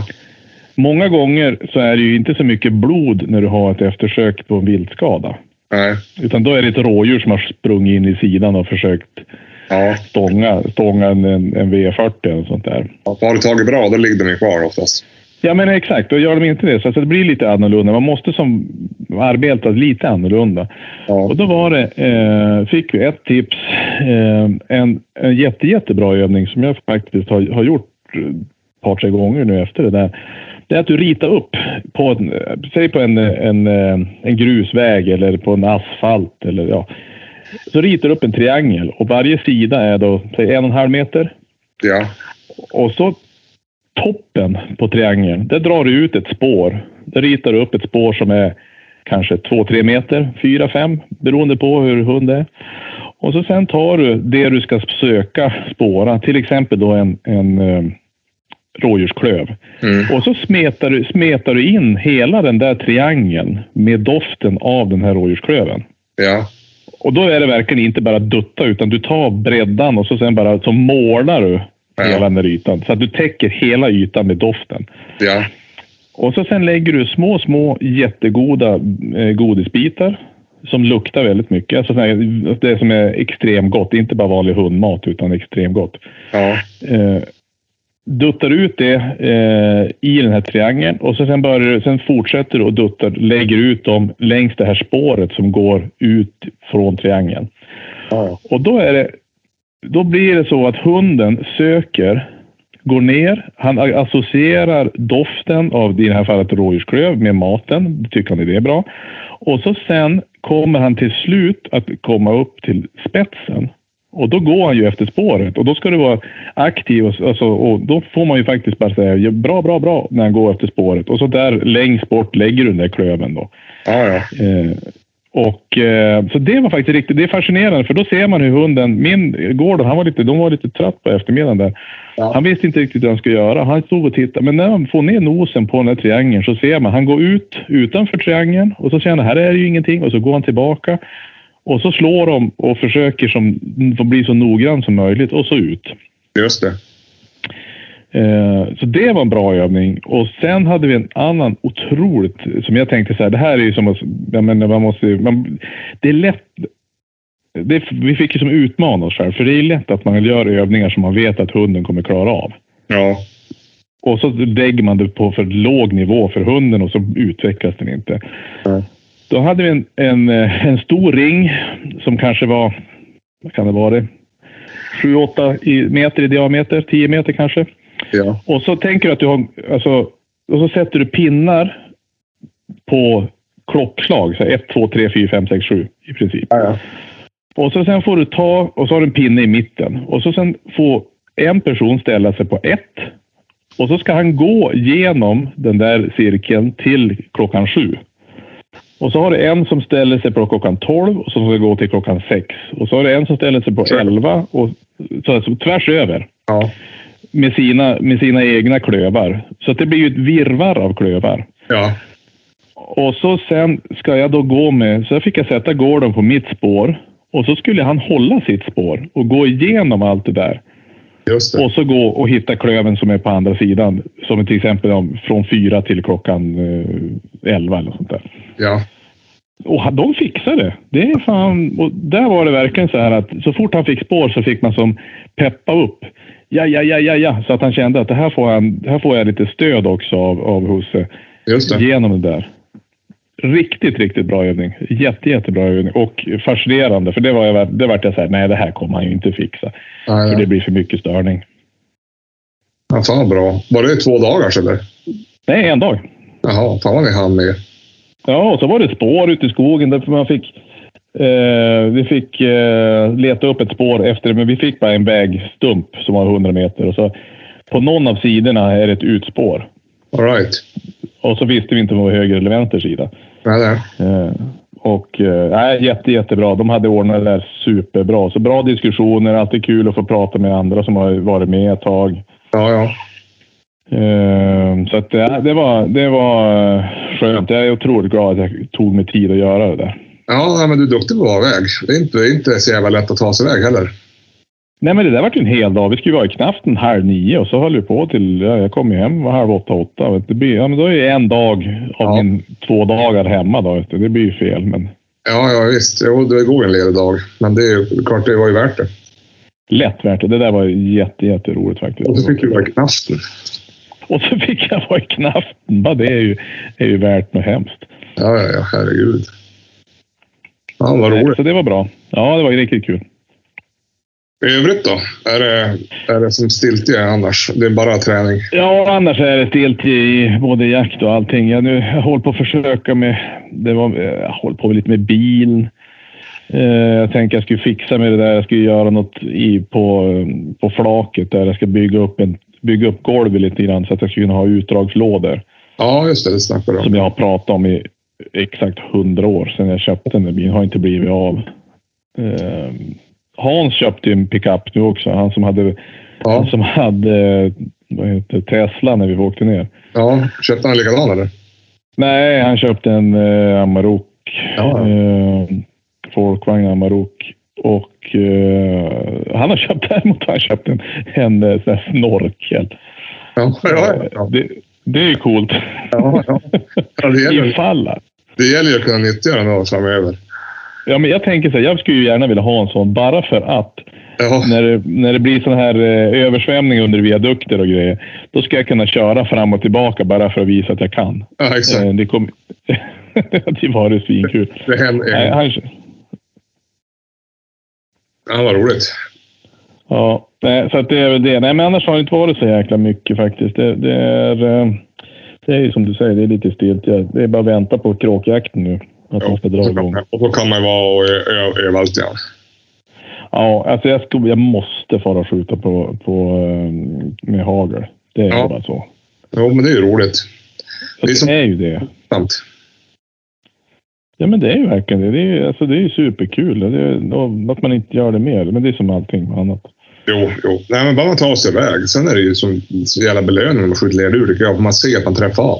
B: Många gånger så är det ju inte så mycket blod när du har ett eftersök på en viltskada.
A: nej,
B: Utan då är det ett rådjur som har sprungit in i sidan och försökt
A: ja.
B: stånga, stånga en, en, en V40 eller sånt där.
A: Ja, Har du tagit bra, då ligger de ju kvar oftast.
B: Ja, men exakt. Och gör de inte det så alltså, det blir lite annorlunda. Man måste som arbeta lite annorlunda.
A: Ja,
B: Och då var det, eh, fick vi ett tips. Eh, en en jätte, jättebra övning som jag faktiskt har, har gjort eh, ett par, tre gånger nu efter det där. Det är att du ritar upp, på en, eh, säg på en, eh, en, eh, en grusväg eller på en asfalt. Eller, ja. Så ritar du upp en triangel och varje sida är då säg, en och en halv meter.
A: ja,
B: Och så toppen på triangeln, där drar du ut ett spår. Där ritar du upp ett spår som är kanske 2-3 meter, 4-5 beroende på hur hund är. Och så sen tar du det du ska söka spåra, till exempel då en, en eh, rådjursklöv.
A: mm.
B: Och så smetar du, smetar du in hela den där triangeln med doften av den här rådjursklöven.
A: ja,
B: Och då är det verkligen inte bara dutta, utan du tar breddan och så sen bara så målar du
A: Ja.
B: hela den där ytan. Så att du täcker hela ytan med doften.
A: ja,
B: Och så sen lägger du små, små jättegoda eh, godisbitar som luktar väldigt mycket. Alltså sån här- det som är extremt gott, inte bara vanlig hundmat utan extremt gott.
A: ja,
B: Eh, duttar ut det eh, i den här triangeln och så sen, börjar, du- sen fortsätter du och duttar, lägger ut dem längs det här spåret som går ut från triangeln.
A: ja,
B: Och då, är det, då blir det så att hunden söker, går ner, han a- associerar doften av i det här fallet rådjursklöv med maten, tycker han det är bra. Och så sen kommer han till slut att komma upp till spetsen. Och då går han ju efter spåret och då ska du vara aktiv och, s- alltså, och då får man ju faktiskt bara säga "Ja, bra, bra, bra när han går efter spåret. Och så där längst bort lägger du den där klöven då.
A: ja, ja,
B: Eh, och, eh, så det var faktiskt riktigt, det är fascinerande för då ser man hur hunden, min Gordon, han var lite, de var lite trött på eftermiddagen där.
A: Ja.
B: Han visste inte riktigt hur han skulle göra. Han stod och tittade, men när han får ner nosen på den här triangeln så ser man, han går ut utanför triangeln och så känner han, här är det ju ingenting och så går han tillbaka. Och så slår de och försöker som, de bli så noggrann som möjligt och så ut.
A: just det.
B: Eh, Så det var en bra övning. Och sen hade vi en annan otroligt, som jag tänkte så här, det här är ju som att, jag menar, man måste, ju- man, det är lätt, det, vi fick ju som utmana oss själv, för det är ju lätt att man gör övningar som man vet att hunden kommer klara av.
A: Ja,
B: Och så lägger man det på för låg nivå för hunden och så utvecklas den inte.
A: Mm.
B: Då hade vi en, en, eh, en stor ring som kanske var, vad kan det vara det? 7-8 meter i diameter, 10 meter kanske.
A: ja,
B: Och så tänker du att du har, alltså, och så sätter du pinnar på klockslag. Så här 1, 2, 3, 4, 5, 6, 7 i princip.
A: ja,
B: Och så sen får du ta, och så har du en pinne i mitten. Och så sen får en person ställa sig på ett. Och så ska han gå genom den där cirkeln till klockan sju. Och så har du en som ställer sig på klockan 12 och som ska gå till klockan sex. Och så har du en som ställer sig på
A: Sure.
B: 11 och så, så tvärs över
A: ja,
B: med sina, med sina egna klövar. Så att det blir ju ett virvar av klövar.
A: ja,
B: Och så sen ska jag då gå med, så jag fick jag sätta Gordon på mitt spår. Och så skulle han hålla sitt spår och gå igenom allt det där.
A: just det.
B: Och så gå och hitta klöven som är på andra sidan. Som till exempel om, från fyra till klockan eh, elva eller sånt där.
A: Ja,
B: Och han- de fixade det. Det är fan... Och där var det verkligen så här att så fort han fick spår så fick man som peppa upp. Ja, ja, ja, ja, ja. Så att han kände att det här får, han, här får jag lite stöd också av, av Husse
A: just det.
B: genom det där. Riktigt, riktigt bra övning. Jätte, jättebra övning. Och fascinerande. För det var jag, det vart jag så här, nej det här kommer han ju inte fixa.
A: Ja,
B: För
A: ja.
B: det blir för mycket störning.
A: Ja, fan vad bra. Var det två dagar eller?
B: Nej, en dag.
A: Jaha, fan vad ni hann med.
B: Ja, och så var det ett spår ute i skogen därför man fick... Eh, vi fick eh, leta upp ett spår efter det, men vi fick bara en vägstump som var 100 meter. Och så, på någon av sidorna är det ett utspår.
A: All right.
B: Och så visste vi inte om det var höger eller vänster sida.
A: Nej, nej.
B: Eh, Och eh, äh, jätte, jättebra. De hade ordnat det där superbra. Så bra diskussioner. Alltid kul att få prata med andra som har varit med ett tag.
A: Ja, ja.
B: Ehm, så att, äh, det, var, det var eh, skönt. Jag är otroligt glad att jag tog mig tid att göra det där.
A: Ja, nej, men du är duktig på att vara iväg. Det är inte, det är inte så jävla lätt att ta sig iväg heller.
B: Nej, men det där var ju en hel dag. Vi skulle ju vara i knappt en halv nio och så höll vi på till... Ja, jag kom ju hem var halv åtta, åtta. Vet du. Det blir, ja, men då är det en dag av
A: Ja.
B: min två dagar hemma. Då, vet du. Det blir ju fel, men
A: Ja, ja visst. Jo, det går en ledig dag. Men det är ju- klart, det var ju värt det.
B: lätt värt det. Det där var jätte, jätteroligt faktiskt.
A: Och så fick du vara knasten.
B: Och så fick jag vara i knaften. Bara Det är ju, är ju värt något hemskt.
A: Ja, ja, ja. Herregud. Ja, vad roligt.
B: Så det var bra. Ja, det var ju riktigt kul.
A: I övrigt då? Är det, är det som stiltje annars? Det är bara träning?
B: Ja, annars är det stelt i både jakt och allting. Jag, nu, jag håller på att försöka med... Det var, eh, jag håller på lite med bilen. Eh, jag tänkte jag skulle fixa med det där. Jag skulle göra något i, på, eh, på flaket där. Jag ska bygga upp, en, bygga upp golvet lite grann så att jag skulle kunna ha utdragslådor.
A: Ja, just det. Det snackade du om.
B: Som jag har pratat om i exakt hundra år sedan jag köpte den där bilen. Har inte blivit av. Eh, Hans köpte ju en pickup nu också. Han som hade, han
A: Ja,
B: som hade eh, vad heter, Tesla när vi åkte ner.
A: ja. Köpte han likadan eller?
B: Nej, han köpte en eh, Amarok.
A: Ja.
B: Eh, folkvagn Amarok. Och eh, han har köpt däremot har han köpt en, en eh, sån här snorkel. Eh,
A: Ja, ja, ja.
B: Det, det är ju coolt.
A: ja, ja. ja det, gäller,
B: Ifall.
A: det gäller ju att kunna nyttja den då framöver.
B: Ja, men jag tänker så här, jag skulle ju gärna vilja ha en sån bara för att
A: Ja,
B: när det, när det blir sån här eh, översvämning under viadukter och grejer, då ska jag kunna köra fram och tillbaka bara för att visa att jag kan.
A: ja exakt.
B: Eh, det kom... det var det svinkul.
A: Det
B: Nej,
A: händer.
B: han,
A: Ja, vad roligt.
B: ja, nej, så att det är väl det. Nej, men annars har det inte varit så jäkla mycket faktiskt. Det, det är... eh, Det är ju som du säger, det är lite stelt. Ja, Det är bara att vänta på kråkjakten nu. Att de ska dra igång.
A: Och så kan man vara och ö- ö- öva allt igen.
B: Ja, alltså jag, skulle, jag måste fara och skjuta på, på, eh, med hagel. Det är
A: Ja.
B: bara så.
A: Jo, men det är ju roligt.
B: Så
A: Det är som-
B: det är ju det.
A: Sant.
B: Ja, men det är ju verkligen det. Det är, ju- alltså, det är ju superkul. Det är, och att man inte gör det mer. Men det är som allting annat.
A: Jo, jo. Nej, men bara man tar sig iväg. Sen är det ju som så jävla belöning när man skjuter lerduvor tycker jag. För man ser att man träffar av.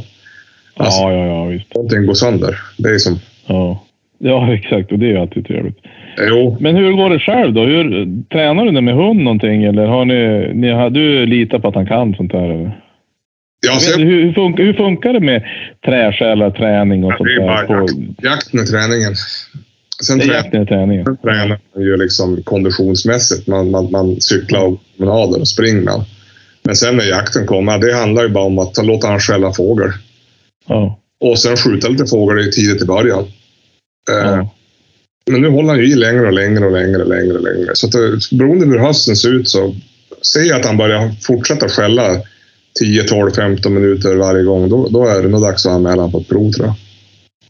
A: Alltså-
B: Ja, ja, ja, visst.
A: Någonting går sönder. Det är som...
B: Ja. ja, exakt. Och det är ju alltid trevligt.
A: Jo,
B: Men hur går det själv då? Hur, tränar du den med hund någonting? Eller har ni, ni, har du litat på att han kan sånt här? Eller?
A: jag ser
B: hur, hur, funkar, hur funkar det med träsjälar, träning och
A: Ja,
B: sånt
A: det är
B: där?
A: bara
B: På,
A: jakt, jakten är träningen. Sen
B: det är
A: trä,
B: jakten i träningen.
A: tränar man ju liksom konditionsmässigt. Man, man, man cyklar och promenader och springer. Men sen när jakten kommer, det handlar ju bara om att ta- låta han skälla fågel.
B: Ja.
A: Och sen skjuta lite fågel i tidigt i början. Eh,
B: ja.
A: Men nu håller han ju i längre och längre och längre och längre. Och längre. Så att, det- beroende på hur hösten ser ut så ser jag att han börjar fortsätta skälla 10, 12, 15 minuter varje gång. Då, då är det nog dags att anmäla honom på ett prov tror jag.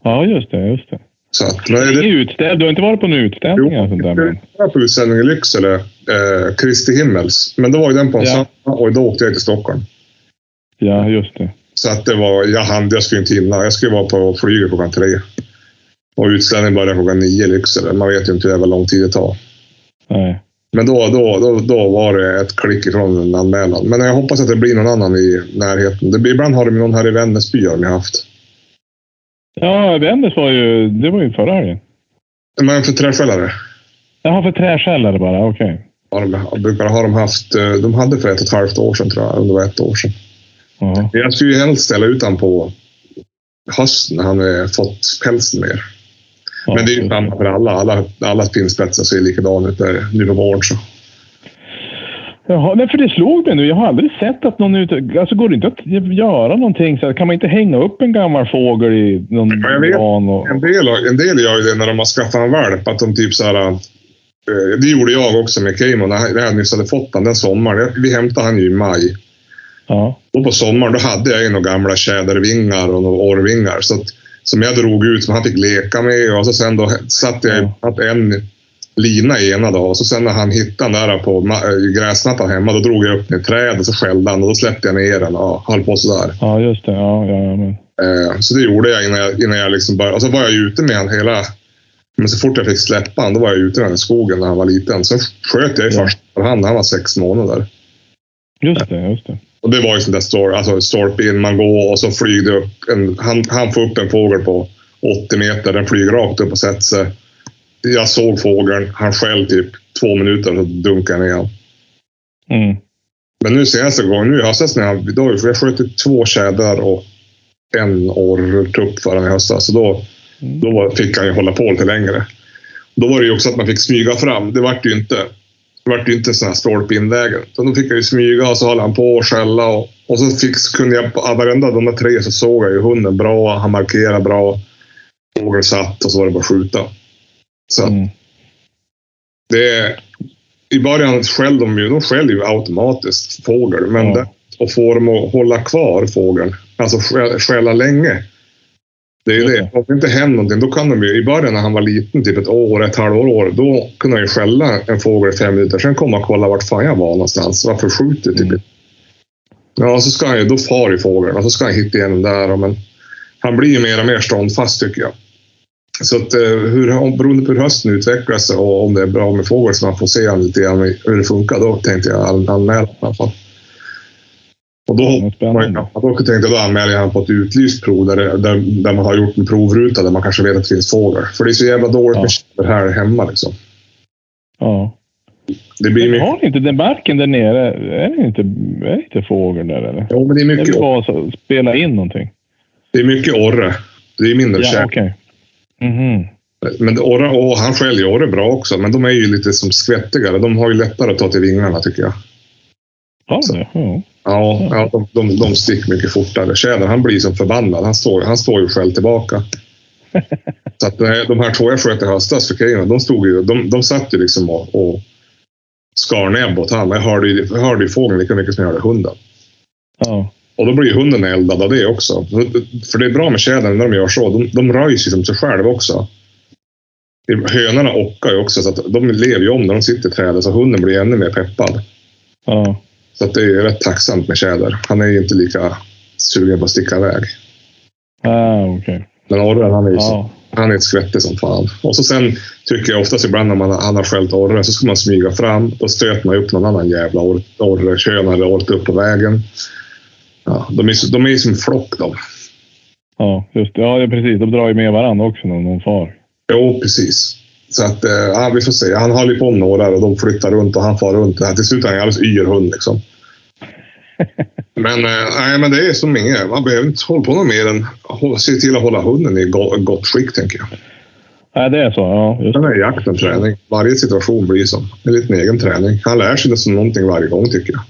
B: ja, just det. Just det.
A: Så att, nej, det,
B: Ingen utställ, du har inte varit på någon utställning eller sånt där? Men...
A: Jag var på utställning i Lycksele, eh, Kristi Himmels. Men då var ju den på en
B: Ja.
A: söndag och då åkte jag till Stockholm.
B: Ja, just det.
A: Så att det var, jag hann, jag skulle inte hinna. Jag skulle vara på flyget klockan tre. Och utställningen började klockan nio i Lycksele. Man vet ju inte hur jävla lång tid det tar.
B: Nej.
A: Men då, då, då, då var det ett klick ifrån en anmälan. Men jag hoppas att det blir någon annan i närheten. Det blir, ibland har de någon här i Vännäsby har de haft.
B: Ja, Vännäs var ju... Det var ju förra helgen.
A: Men för träskällare
B: Jaha, för träskällare bara. Okej.
A: har de, brukar, har de haft. eh, De hade för ett och ett halvt år sedan tror jag. Om det var ett år sedan.
B: Ja.
A: Jag skulle ju helst ställa ut han på hösten när han eh, fått pälsen mer.
B: Ja,
A: Men det är ju
B: just
A: samma för alla. Alla, alla pinnspetsar ser likadana ut där, nu på våren. Så.
B: Jaha, nej, för det slog mig nu. Jag har aldrig sett att någon ute... Alltså går det inte att göra någonting så här? Kan man inte hänga upp en gammal fågel i någon
A: Ja, jag vet.
B: gran? Och...
A: En, del, en del gör ju det när de har skaffat en valp. Att de typ så här, eh, det gjorde jag också med Keimo när jag- när jag nyss hade fått han den sommaren. Jag- Vi hämtade han ju i maj.
B: Ja.
A: Och på sommaren då hade jag ju några gamla tjädervingar och några orrvingar. Så att, som jag drog ut som han fick leka med. Och så sen då satte jag
B: Ja.
A: att en lina i ena dagen. Och så sen när han hittade den där på ma- eh, gräsmattan hemma. Då drog jag upp den i trädet och så skällde han. Och då släppte jag ner den och höll på sådär.
B: ja, just det. Ja, ja, ja, men.
A: Eh, Så det gjorde jag innan jag, innan jag liksom började. Och så var jag ju ute med han hela Men så fort jag fick släppa han, då var jag ute i den här skogen när han var liten. Sen sköt jag i
B: Ja.
A: första hand när han var sex månader.
B: Just det, just det.
A: Och det var ju sån där storp, alltså storp in, man går och så flyger det upp. En, han, han får upp en fågel på 80 meter. Den flyger rakt upp och sätter sig. Jag såg fågeln. Han skäll typ två minuter och så dunkade jag ner honom.
B: Mm.
A: Men nu senaste gången, nu i höstas, när jag, då, har jag- för jag sköt två tjädrar och en orrtupp förra höstas. Så då,
B: Mm.
A: då var, fick han ju hålla på lite längre. Då var det ju också att man fick smyga fram. Det vart ju inte, det vart ju inte sån här stolpe in vägen. Så då fick jag ju smyga och så höll han på och skälla. Och, och så fick, så kunde jag, på- av varenda av de där tre så såg jag ju hunden bra. Han markerade bra. Fågeln satt och så var det bara att skjuta. Så att
B: Mm.
A: det är, I början skäll de ju, de skäller ju automatiskt fågel. Men
B: Ja.
A: det, och få dem att hålla kvar fågeln, alltså skä- skälla länge. Det är ju
B: Just
A: det. Om det inte händer någonting, då kan de ju, i början när han var liten, typ ett år, ett halvår, år, då kunde han ju skälla en fågel i fem minuter. Sen kom han och kolla vart fan jag var någonstans. Varför skjuter typ
B: Mm.
A: inte? Ja, så ska han ju, då far ju fågeln och så ska han hitta igenom där. och Men han blir ju mer och mer ståndfast tycker jag. Så att, eh, hur, om, beroende på hur hösten utvecklas och om det är bra med fågel så man får se han lite grann hur det funkar, då tänkte jag an- anmäla i alla fall. Och då,
B: Vad Spännande.
A: Ja, då tänkte jag då anmäler jag han på ett utlyst prov där, det- där, där man har gjort en provruta där man kanske vet att det finns fågel. För det är så jävla dåligt
B: Ja.
A: med tjäder här hemma liksom.
B: Ja.
A: Det blir
B: Men
A: mycket,
B: har ni inte den marken där nere? Är det inte, är det inte fågel där eller?
A: jo, men det är
B: Jag vill
A: mycket,
B: bara så- spela in någonting.
A: det är mycket orre. Det är mindre
B: Ja,
A: tjäder.
B: okej. Mhm.
A: Men orre, och han skäljer orre bra också, men de är ju lite som skvättigare. De har ju lättare att ta till vingarna tycker jag.
B: Har de det? Ja.
A: Ja, ja de, de, de sticker mycket fortare. Tjädern, han blir som förbannad. Han står, han står ju själv tillbaka. Så att eh, de här två jag sköt i höstas för Keino, de stod ju, de, de satt ju liksom och, och skar näbb åt han. Jag hörde ju, jag hörde ju fågeln lika mycket som jag hörde hunden.
B: Ja.
A: Och då blir ju hunden eldad av det också. För det är bra med tjädern när de gör så. De, de rör ju sig som sig själva också. Hönorna ockar ju också, så att de lever ju om när de sitter i trädet. Så hunden blir ännu mer peppad.
B: ja.
A: Så att det är ju rätt tacksamt med tjäder. Han är ju inte lika sugen på att sticka iväg.
B: Ah, okej.
A: Men orren, han är ju
B: Ja.
A: han är ett skvätte som fan. Och så sen tycker jag oftast ibland när man, han har skällt orren så ska man smyga fram. Då stöter man upp någon annan jävla orre, orre kön eller orre upp på vägen. Ja, de är ju de är ju som flock de.
B: Ja, just det. Ja, det är precis. De drar ju med varandra också när de far.
A: Jo, precis. Så att, eh, ja, vi får se. Han håller ju på med några och de flyttar runt och han far runt. Ja, Till slut är han en alldeles yr hund liksom. Men, eh, nej, men det är som inget. Man behöver inte hålla på något mer än hå- se till att hålla hunden i go- gott skick, tänker jag.
B: Nej, det är så. Ja, just det.
A: Sen är jakten träning. Varje situation blir som en liten egen träning. Han lär sig nästan någonting varje gång, tycker jag.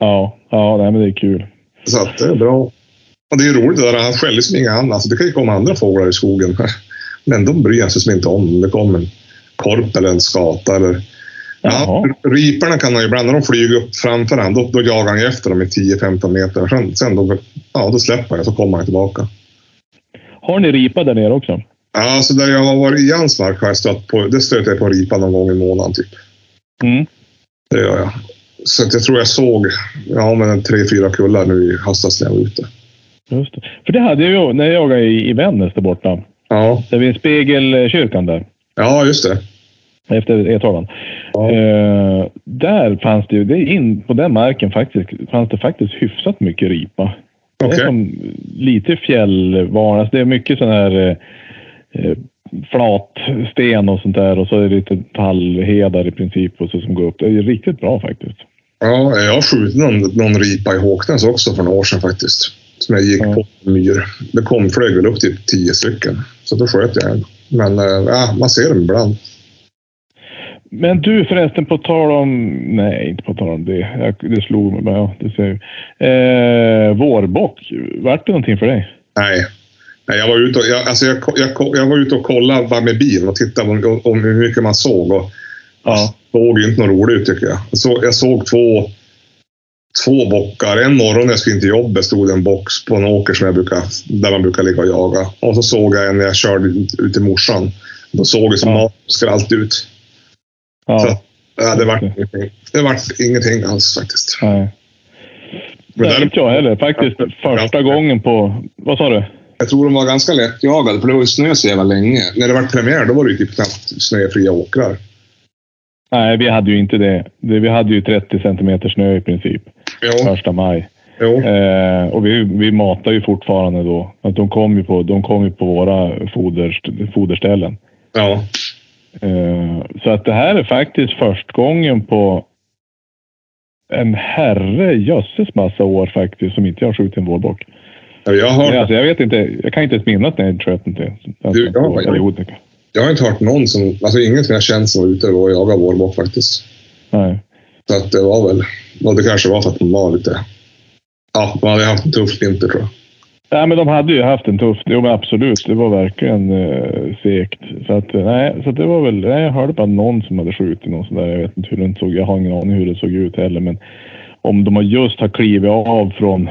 B: Ja, ja nej, men det är kul.
A: Så att det är bra. Och det är roligt det där. Han skäller som inga annat. Alltså, det kan ju komma andra fåglar i skogen. Men de bryr han sig som inte om. Det kommer en korp eller en skata. Eller... Ja,
B: Jaha.
A: riparna kan han ju ibland, när de flyger upp framför han, då, då jagar han ju efter dem i 10-15 meter. Sen, sen då, ja, då släpper han och så kommer han tillbaka.
B: Har ni ripa där nere också?
A: Ja, så där jag har varit i Jansmark har jag stött på, det stöter jag på en ripa någon gång i månaden. Typ.
B: Mm.
A: Det gör jag. Så att jag tror jag såg ja, men en tre, fyra kullar nu i höstas när jag var ute.
B: Just det. För det hade jag ju när jag jagade i, i Vännäs där borta.
A: Ja,
B: Där vid spegelkyrkan där.
A: ja just det.
B: Efter Edhavan.
A: Ja.
B: Eh, där fanns det ju, det är in, på den marken faktiskt, fanns det faktiskt hyfsat mycket ripa. Det
A: Okej.
B: är som lite fjällvarnas. det är mycket sån här eh, eh, flat sten och sånt där och så är det lite tallhedar i princip och så som går upp. Det är riktigt bra faktiskt.
A: Ja, jag har skjutit någon, någon ripa i Håknäs också för några år sedan faktiskt. Som jag gick
B: Ja.
A: på en myr. Det kom, flög väl upp typ tio stycken. Så då sköt jag en. Men eh, ja, man ser dem ibland.
B: Men du förresten, på tal om... Nej, inte på tal om det. Jag, det slog mig. bara, Ja, det ser jag. Eh, vårbock. Vart det någonting för dig?
A: Nej. Nej, jag var ute och, jag, alltså jag, ko- jag, ko- jag var ute och kollade bara med bilen och tittade om, om hur mycket man såg. Och,
B: Ja.
A: såg ju inte något roligt ut tycker jag. Jag såg, jag såg två, två bockar. En morgon när jag skulle in till jobbet stod det en bock på en åker som jag brukar, där man brukar ligga och jaga. Och så såg jag en när jag körde ut, ut till morsan. Då såg det som
B: Ja.
A: ja. skrallt ut. Så,
B: ja
A: Ja, det vart ingenting. Det vart ingenting alls faktiskt.
B: nej.
A: Men
B: Nej,
A: där,
B: inte jag heller. Faktiskt första gången på... Vad sa du?
A: Jag tror de var ganska lättjagade, för det var ju snö så jävla länge. När det var premiär, då var det ju typ knappt snöfria åkrar.
B: Nej, vi hade ju inte det. Det- Vi hade ju 30 centimeter snö i princip
A: Jo,
B: första maj.
A: jo.
B: Eh, och vi, vi matar ju fortfarande då. Att de kom ju på, de kom ju på våra foder, foderställen.
A: Ja.
B: Eh, så att det här är faktiskt första gången på en herre jösses massa år faktiskt som inte har skjutit en vårbock.
A: Jag har,
B: Nej, Alltså, jag vet inte. Jag kan inte ens minnas när jag sköt inte.
A: Du, jag var-
B: perioden.
A: jag har inte hört någon som... Alltså ingen som jag känt som var ute och jagade vårbock faktiskt.
B: Nej.
A: Så att det var väl... Och det kanske var för att de var lite... Ja, man hade haft en tuff vinter tror jag.
B: Nej, men de hade ju haft en tuff... Jo, men absolut. Det var verkligen eh, segt. Så att, eh, nej, så att det var väl... Nej, jag hörde bara någon som hade skjutit någon sån där. Jag vet inte hur den såg... Jag har ingen aning hur den såg ut heller, men om de har just har klivit av från,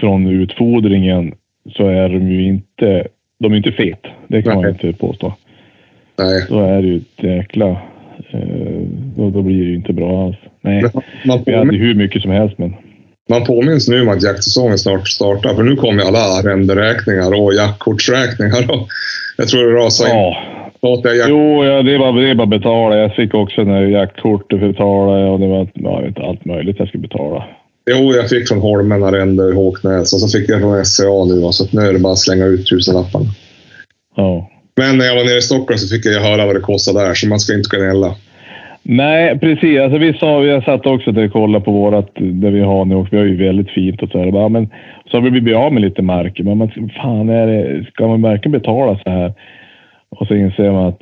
B: från utfodringen så är de ju inte... De är inte fet. Det kan man
A: Nej.
B: inte påstå.
A: Nej.
B: Då är det ju ett jäkla... Eh, då, då blir det ju inte bra alls. Nej,
A: Men Man,
B: vi hade
A: påmin,
B: hur mycket som helst, men...
A: man påminns nu om att jaktsäsongen snart startar. För nu kommer alla arrenderäkningar och jaktkortsräkningar. Och jag tror det rasade in.
B: Ja.
A: Statliga jakt...
B: Jo, ja, det var det var betala. Jag fick också när jaktkortet betalade och det var ja, jag vet inte, allt möjligt jag skulle betala.
A: Jo, jag fick från Holmen Arrende i Håknäs och så fick jag från SCA nu. och Så att nu är det bara att slänga ut tusenlapparna.
B: Ja.
A: Men när jag var nere i Stockholm så fick jag höra vad det kostar där, så man ska inte gnälla.
B: Nej, precis. Alltså, vi sa, jag satt också där och kollade på vårat, där vi har nu och vi har ju väldigt fint och så här. Och Bara, men, så har vi blivit av med lite mark. Men man, fan, är det, ska man verkligen betala så här? Och så inser man att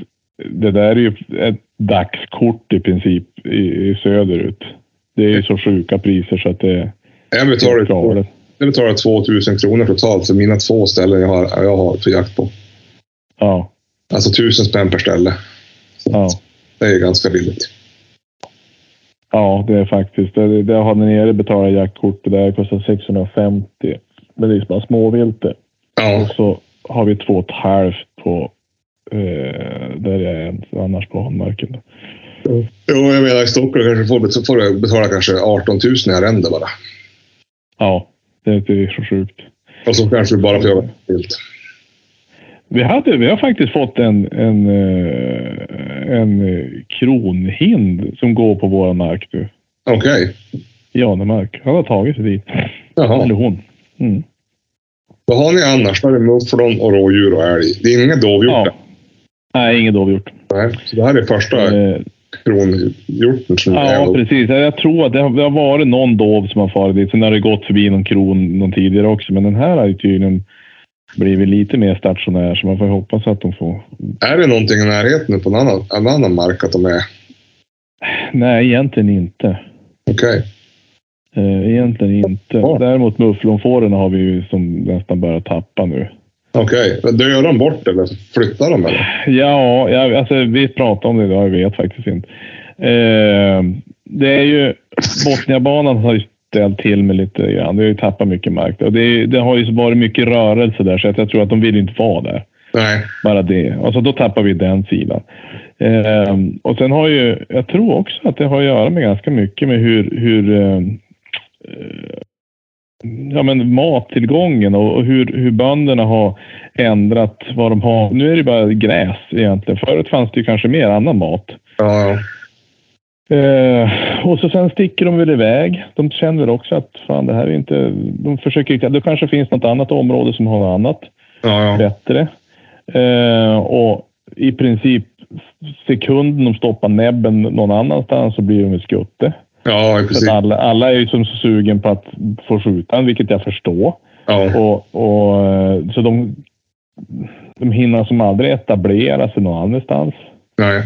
B: det där är ju ett dagskort i princip i, i söderut. Det är ju så sjuka priser så att det
A: Jag
B: är
A: betalar,
B: galet.
A: jag betalar 2000 kronor totalt för mina två ställen jag har, jag har för jakt på.
B: Ja,
A: Alltså 1000 spänn per ställe. Så
B: ja.
A: Det är ju ganska billigt.
B: Ja, det är faktiskt. Det, det har ni nere betalat jaktkort. Det där kostar 650. Men det är bara småvilte. Och
A: Ja,
B: så har vi två och ett halvt på eh, där jag är annars på Hanmarken.
A: jo, jag menar i Stockholm kanske får, bet- får jag betala kanske 18 000 i arrende bara.
B: Ja, det, är- det är så sjukt.
A: Och så kanske du bara får jaga vilt.
B: Vi, hade, vi har faktiskt fått en, en, eh, en eh, kronhind som går på vår mark nu.
A: Okej.
B: Janemark. Han har tagit sig dit.
A: Jaha.
B: Eller hon. Mm.
A: Vad har ni annars? Då är det mufflon och rådjur och älg. Det är inget dovhjort
B: Ja.
A: där.
B: Nej, inget dovhjort.
A: Nej. Så det här är första
B: Eh,
A: kronhjorten som är
B: Ja,
A: dov.
B: precis. Jag tror att det har, det har varit någon dov som har farit dit. Sen har det gått förbi någon kron någon tidigare också. Men den här har ju tydligen blivit lite mer stationär. Så man får ju hoppas att de får...
A: Är det någonting i närheten på en annan, en annan mark att de är?
B: Nej, egentligen inte.
A: Okej.
B: Eh, Egentligen inte.
A: Ja.
B: Däremot mufflonfåren har vi ju som nästan börjat tappa nu.
A: Okej. Men Dör de bort eller flyttar de eller?
B: Ja, jag, alltså, vi pratade om det idag. Jag vet faktiskt inte. Eh, det är ju... Botniabanan har ju ställt till med lite grann. Det har ju tappat mycket mark. Och det, är- det har ju varit mycket rörelse där, så att jag tror att de vill inte vara där.
A: Nej.
B: Bara det. Alltså, då tappar vi den sidan. Eh, och sen har ju... Jag tror också att det har att göra med ganska mycket med hur... hur eh, eh, Ja, men mattillgången och och hur, hur bönderna har ändrat vad de har. Nu är det bara gräs egentligen. Förut fanns det ju kanske mer annan mat.
A: Ja, ja.
B: Eh, och så sen sticker de väl iväg. De känner väl också att fan, det här är inte... De försöker inte... Det kanske finns något annat område som har något annat
A: ja, ja.
B: bättre. Eh, och i princip sekunden de stoppar näbben någon annanstans så blir de ett skutte.
A: ja
B: Så
A: precis.
B: att alla, alla är ju som så sugen på att få skjuta den, vilket jag förstår.
A: Ja.
B: Och, och, eh, så de, de hinner som aldrig etablera sig någon annanstans.
A: Nej.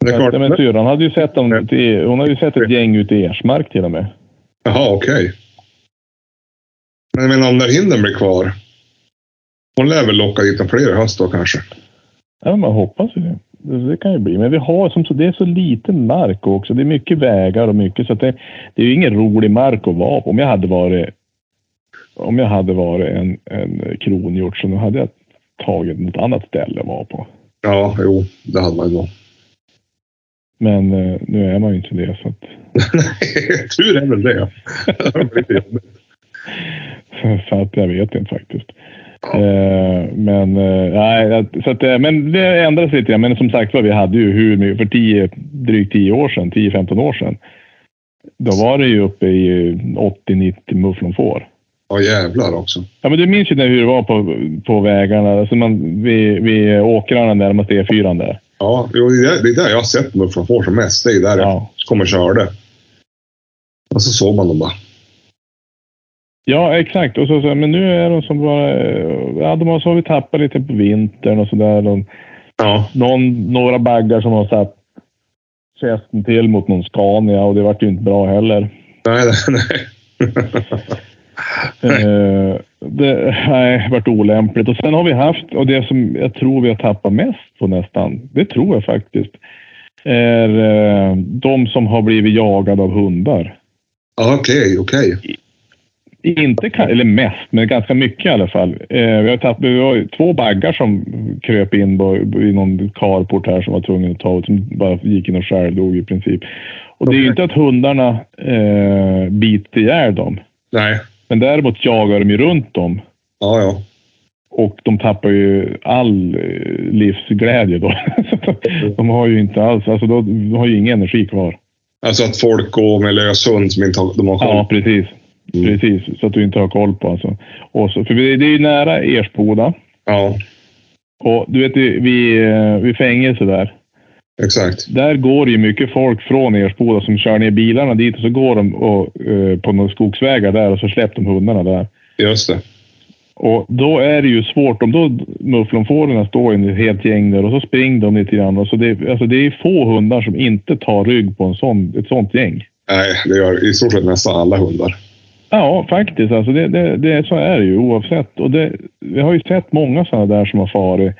A: Det är
B: Ja, men typ-
A: klart.
B: syrran hade ju sett dem, till- hon hade ju sett ett gäng ute i Ersmark till och med.
A: Jaha, okej. Men jag menar om den hinden blir kvar. Hon lär väl locka dit en fler i höst då kanske.
B: Ja, man hoppas ju det. det. Det kan ju bli. Men vi har som så, det är så liten mark också. Det är mycket vägar och mycket så att det, det är ju ingen rolig mark att vara på. Om jag hade varit, om jag hade varit en, en kronhjort så då hade jag tagit något annat ställe att vara på.
A: Ja, jo. Det hade man ju då.
B: Men eh, nu är man ju inte det så att
A: Tur är väl det.
B: så att jag vet inte faktiskt. Eh, men, eh, nej, jag- så att, eh, men det ändras lite grann. Men som sagt var, vi hade ju hur mycket, för 10, drygt 10 år sedan, 10-15 år sedan. Då var det ju uppe i 80-90 mufflonfår.
A: Ja, jävlar också.
B: Ja, men du minns ju när hur det var på, på vägarna, alltså man, vid, vid åkrarna närmast E4 där.
A: Ja, jo, det är där- det är där jag har sett dem från får som mest. Det är där jag
B: Ja.
A: kommer körde. Och så såg man dem bara.
B: ja, exakt. Och så, så, men nu är de som bara... eh, Ja, de har så vi tappat lite på vintern och sådär. De-
A: Ja.
B: Någon, några baggar som har satt käften till mot någon Scania och det vart ju inte bra heller.
A: Nej, nej, nej.
B: Eh, det nej, vart olämpligt. Och sen har vi haft, och det som jag tror vi har tappat mest på nästan, det tror jag faktiskt, är eh, de som har blivit jagade av hundar.
A: Ja, Okej, okej.
B: Inte, ka- eller mest, men ganska mycket i alla fall. Eh, vi, har tappat, vi har ju två baggar som kröp in på, i någon carport här som var tvungen att ta ut, som bara gick in och självdog i princip. Och det är ju inte att hundarna eh, biter ihjäl dem,
A: Nej.
B: men däremot jagar de ju runt dem.
A: Ja, ja.
B: Och de tappar ju all eh, livsglädje då. de har ju inte alls, alltså då- de har ju ingen energi kvar.
A: Alltså att folk går med lös hund som inte har, de har koll.
B: Ja, precis.
A: Mm.
B: Precis, så att du inte har koll på alltså. Och så, för det det är ju nära Ersboda.
A: Ja,
B: Och du vet, det- vid, eh, vid fängelse där.
A: exakt.
B: Där går det ju mycket folk från Ersboda som kör ner bilarna dit och så går de och, eh, på några skogsvägar där och så släpper de hundarna där.
A: Just det.
B: Och då är det ju svårt. Om då mufflonfåren står i ett helt gäng där och så springer de lite grann. Och så det, alltså det är få hundar som inte tar rygg på en sån, ett sånt gäng.
A: Nej, det gör i stort sett nästan alla hundar.
B: Ja, faktiskt. Alltså det, det, det, så är det ju oavsett. Och det, vi har ju sett många sådana där som har farit.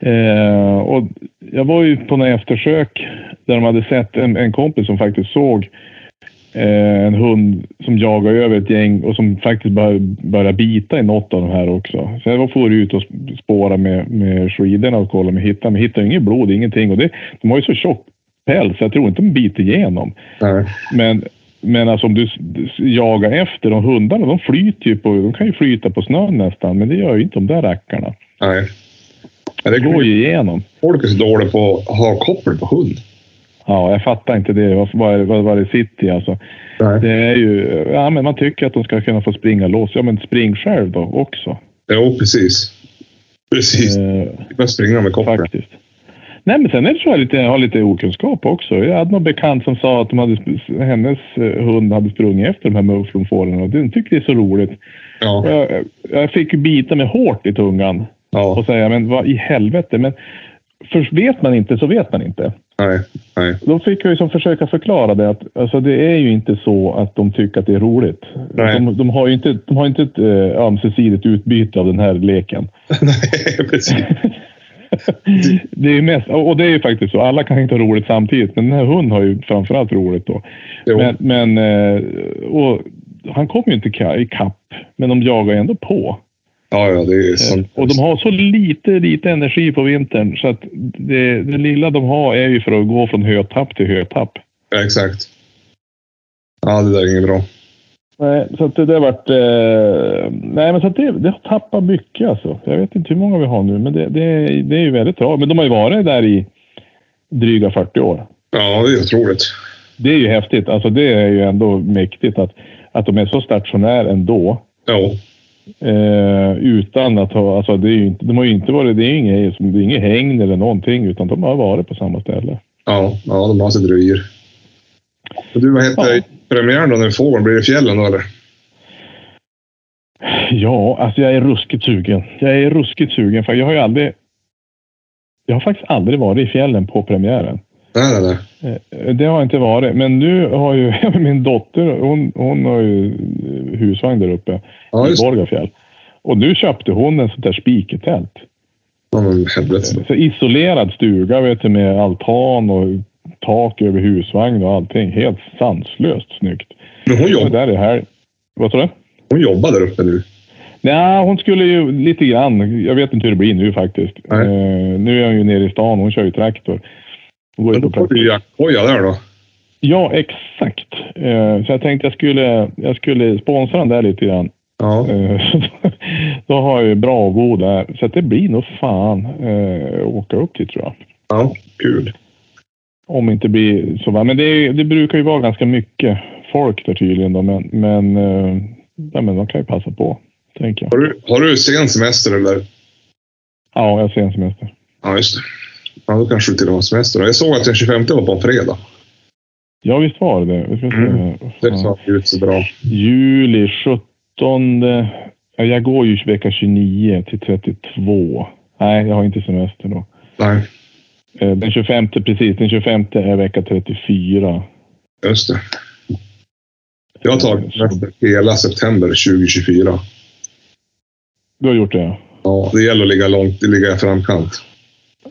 B: Eh, och jag var ju på några eftersök där de hade sett en, en kompis som faktiskt såg eh, en hund som jagade över ett gäng och som faktiskt bör, började bita i något av de här också. Så jag var for ut och sp- spåra med, med skidorna och kolla om jag hittade, men hittade inget blod, ingenting. Och det, de har ju så tjock päls, så jag tror inte de biter igenom.
A: Nej.
B: Men, men alltså om du s- s- jagar efter de hundarna, de flyter ju på, de kan ju flyta på snön nästan, men det gör ju inte de där rackarna.
A: Nej. Men det
B: Det går
A: går ju...
B: ju igenom.
A: Folk är så dåliga på att ha koppel på hund.
B: Ja, jag fattar inte det. Vad, vad, vad, vad det sitter i alltså.
A: Nej.
B: Det är ju, ja men man tycker att de ska kunna få springa loss. Ja men spring själv då också.
A: Jo, precis. Precis.
B: Eh,
A: Jag springer med koppel.
B: faktiskt. Nej men sen är det så jag lite, jag har lite okunskap också. Jag hade någon bekant som sa att de hade, sp- hennes eh, hund hade sprungit efter de här mufflonfåren och den tyckte det är så roligt. Och
A: Ja.
B: Jag, jag fick ju bita mig hårt i tungan
A: ja.
B: och säga, men vad i helvete. Men först vet man inte så vet man inte.
A: Nej. Nej.
B: Då fick jag ju som försöka förklara det att alltså, det är ju inte så att de tycker att det är roligt.
A: Nej.
B: De, de har ju inte, de har inte ett eh, ömsesidigt utbyte av den här leken.
A: Nej, precis.
B: det är ju mest, och det är ju faktiskt så, alla kan inte ha roligt samtidigt, men den här hunden har ju framförallt roligt då.
A: Jo.
B: Men, men eh, och, han kom ju inte ka- i kapp, men de jagar ju ändå på.
A: Ja, ja, det är så.
B: Och de har så lite, lite energi på vintern så att det, det lilla de har är ju för att gå från hötapp till hötapp.
A: Ja, exakt. Ja, det där är inget bra.
B: Nej, så att det där vart... Eh, nej, men så att det, det har tappat mycket alltså. Jag vet inte hur många vi har nu, men det, det, det är ju väldigt tragiskt. Men de har ju varit där i dryga 40 år.
A: Ja, det är otroligt.
B: Det är ju häftigt. Alltså det är ju ändå mäktigt att, att de är så stationära ändå.
A: Jo.
B: Eh, utan att ha... Alltså det är ju inte, de har ju inte varit... Det är ju inget, det är inget hägn eller någonting, utan de har varit på samma ställe.
A: Ja, ja de har sitt revir. Och Du, vad heter
B: Ja.
A: premiären då när fågeln blir i fjällen då eller?
B: Ja, alltså jag är ruskigt sugen. Jag är ruskigt sugen för jag har ju aldrig... Jag har faktiskt aldrig varit i fjällen på premiären.
A: Nej, nej, nej.
B: Eh, Det har jag inte varit, men nu har ju min dotter, hon, hon har ju eh, husvagn där uppe
A: Ja,
B: i
A: just det.
B: Borgafjäll. Och nu köpte hon en sån där spiketält.
A: Ja, men helvete.
B: Så isolerad stuga vet du, med altan och tak över husvagn och allting. Helt sanslöst snyggt.
A: Men hon,
B: Det var
A: jobb,
B: där det här... Vad sa du?
A: hon jobbar där uppe nu.
B: Nej, hon skulle ju lite grann. Jag vet inte hur det blir nu faktiskt.
A: Nej.
B: Eh, nu är hon ju nere i stan. Hon kör ju traktor. Hon går ju
A: Då
B: på
A: får
B: traktor.
A: du jaktkoja där då.
B: Ja, exakt. Eh, så jag tänkte jag skulle, jag skulle sponsra den där lite grann.
A: Ja.
B: Eh, Då har jag ju bra bo där. Så att det blir nog fan eh, åka upp dit tror jag.
A: ja. Kul.
B: Om det inte blir så. va. Men det, det brukar ju vara ganska mycket folk där tydligen. Då, men, men, eh, ja, men de kan ju passa på, tänker jag.
A: Har du, har du sen semester eller?
B: Ja, jag ser en semester.
A: Ja, just det. Ja, då kanske du till och med har semester. Jag såg att den 25 var på en fredag.
B: Ja, visst var det det. Vi ska se.
A: Mm. Det
B: Fan.
A: såg ut så bra.
B: Juli 17. Ja, jag går ju vecka 29 till 32. Nej, jag har inte semester då.
A: Nej,
B: Eh, Den 25, precis. Den 25 är vecka 34.
A: just det. Jag har tagit semester hela september 2024.
B: Du har gjort det? ja.
A: Ja, det gäller att ligga långt, ligga i framkant.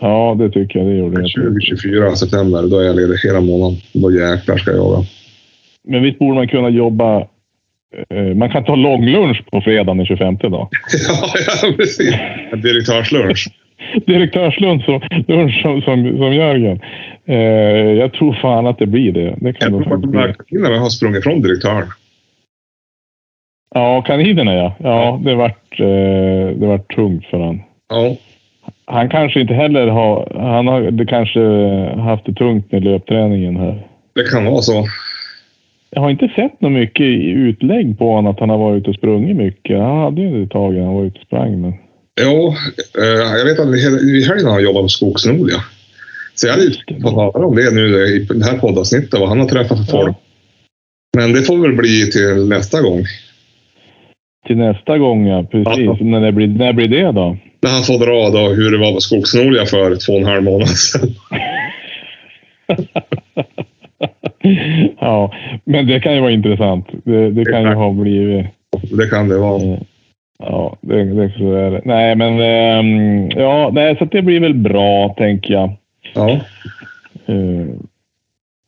B: Ja, det tycker jag. Det gjorde jag.
A: 2024 september, då är jag ledig hela månaden. Då jäklar ska jag jaga.
B: Men visst borde man kunna jobba... eh, Man kan ta långlunch på fredagen den 25 då.
A: ja, ja, precis. En direktörslunch.
B: Direktörslunch som, lunch som, som, som Jörgen. Eh, jag tror fan att det blir det. Det
A: Jag
B: kan nog
A: tror att de
B: faktiskt bli.
A: här kvinnorna har sprungit från direktören.
B: Ja, kaninerna ja. Ja, det vart, eh, det vart tungt för han.
A: Ja,
B: Han kanske inte heller har... Han har det kanske haft det tungt med löpträningen här.
A: det kan vara så.
B: Jag har inte sett något mycket i utlägg på honom att han har varit ute och sprungit mycket. Han hade ju ett tag när han var ute och sprang. Men...
A: Jo, eh, jag vet att i helgen har han jobbat på Skogsnoliga. Så jag hade ju tänkt på att prata om det nu i det här poddavsnittet, vad han har träffat för folk. Men det får väl bli till nästa gång.
B: Till nästa gång ja, precis.
A: Ja.
B: När, det blir, när blir det då?
A: När han får dra då hur det var på Skogsnoliga för två och en halv månad sedan.
B: ja, men det kan ju vara intressant. Det, det kan ju ha blivit... eh,
A: Det kan det vara.
B: Ja, det, det så är det. Nej, men ehm, ja, nej, så att det blir väl bra tänker jag.
A: Ja.
B: Eh,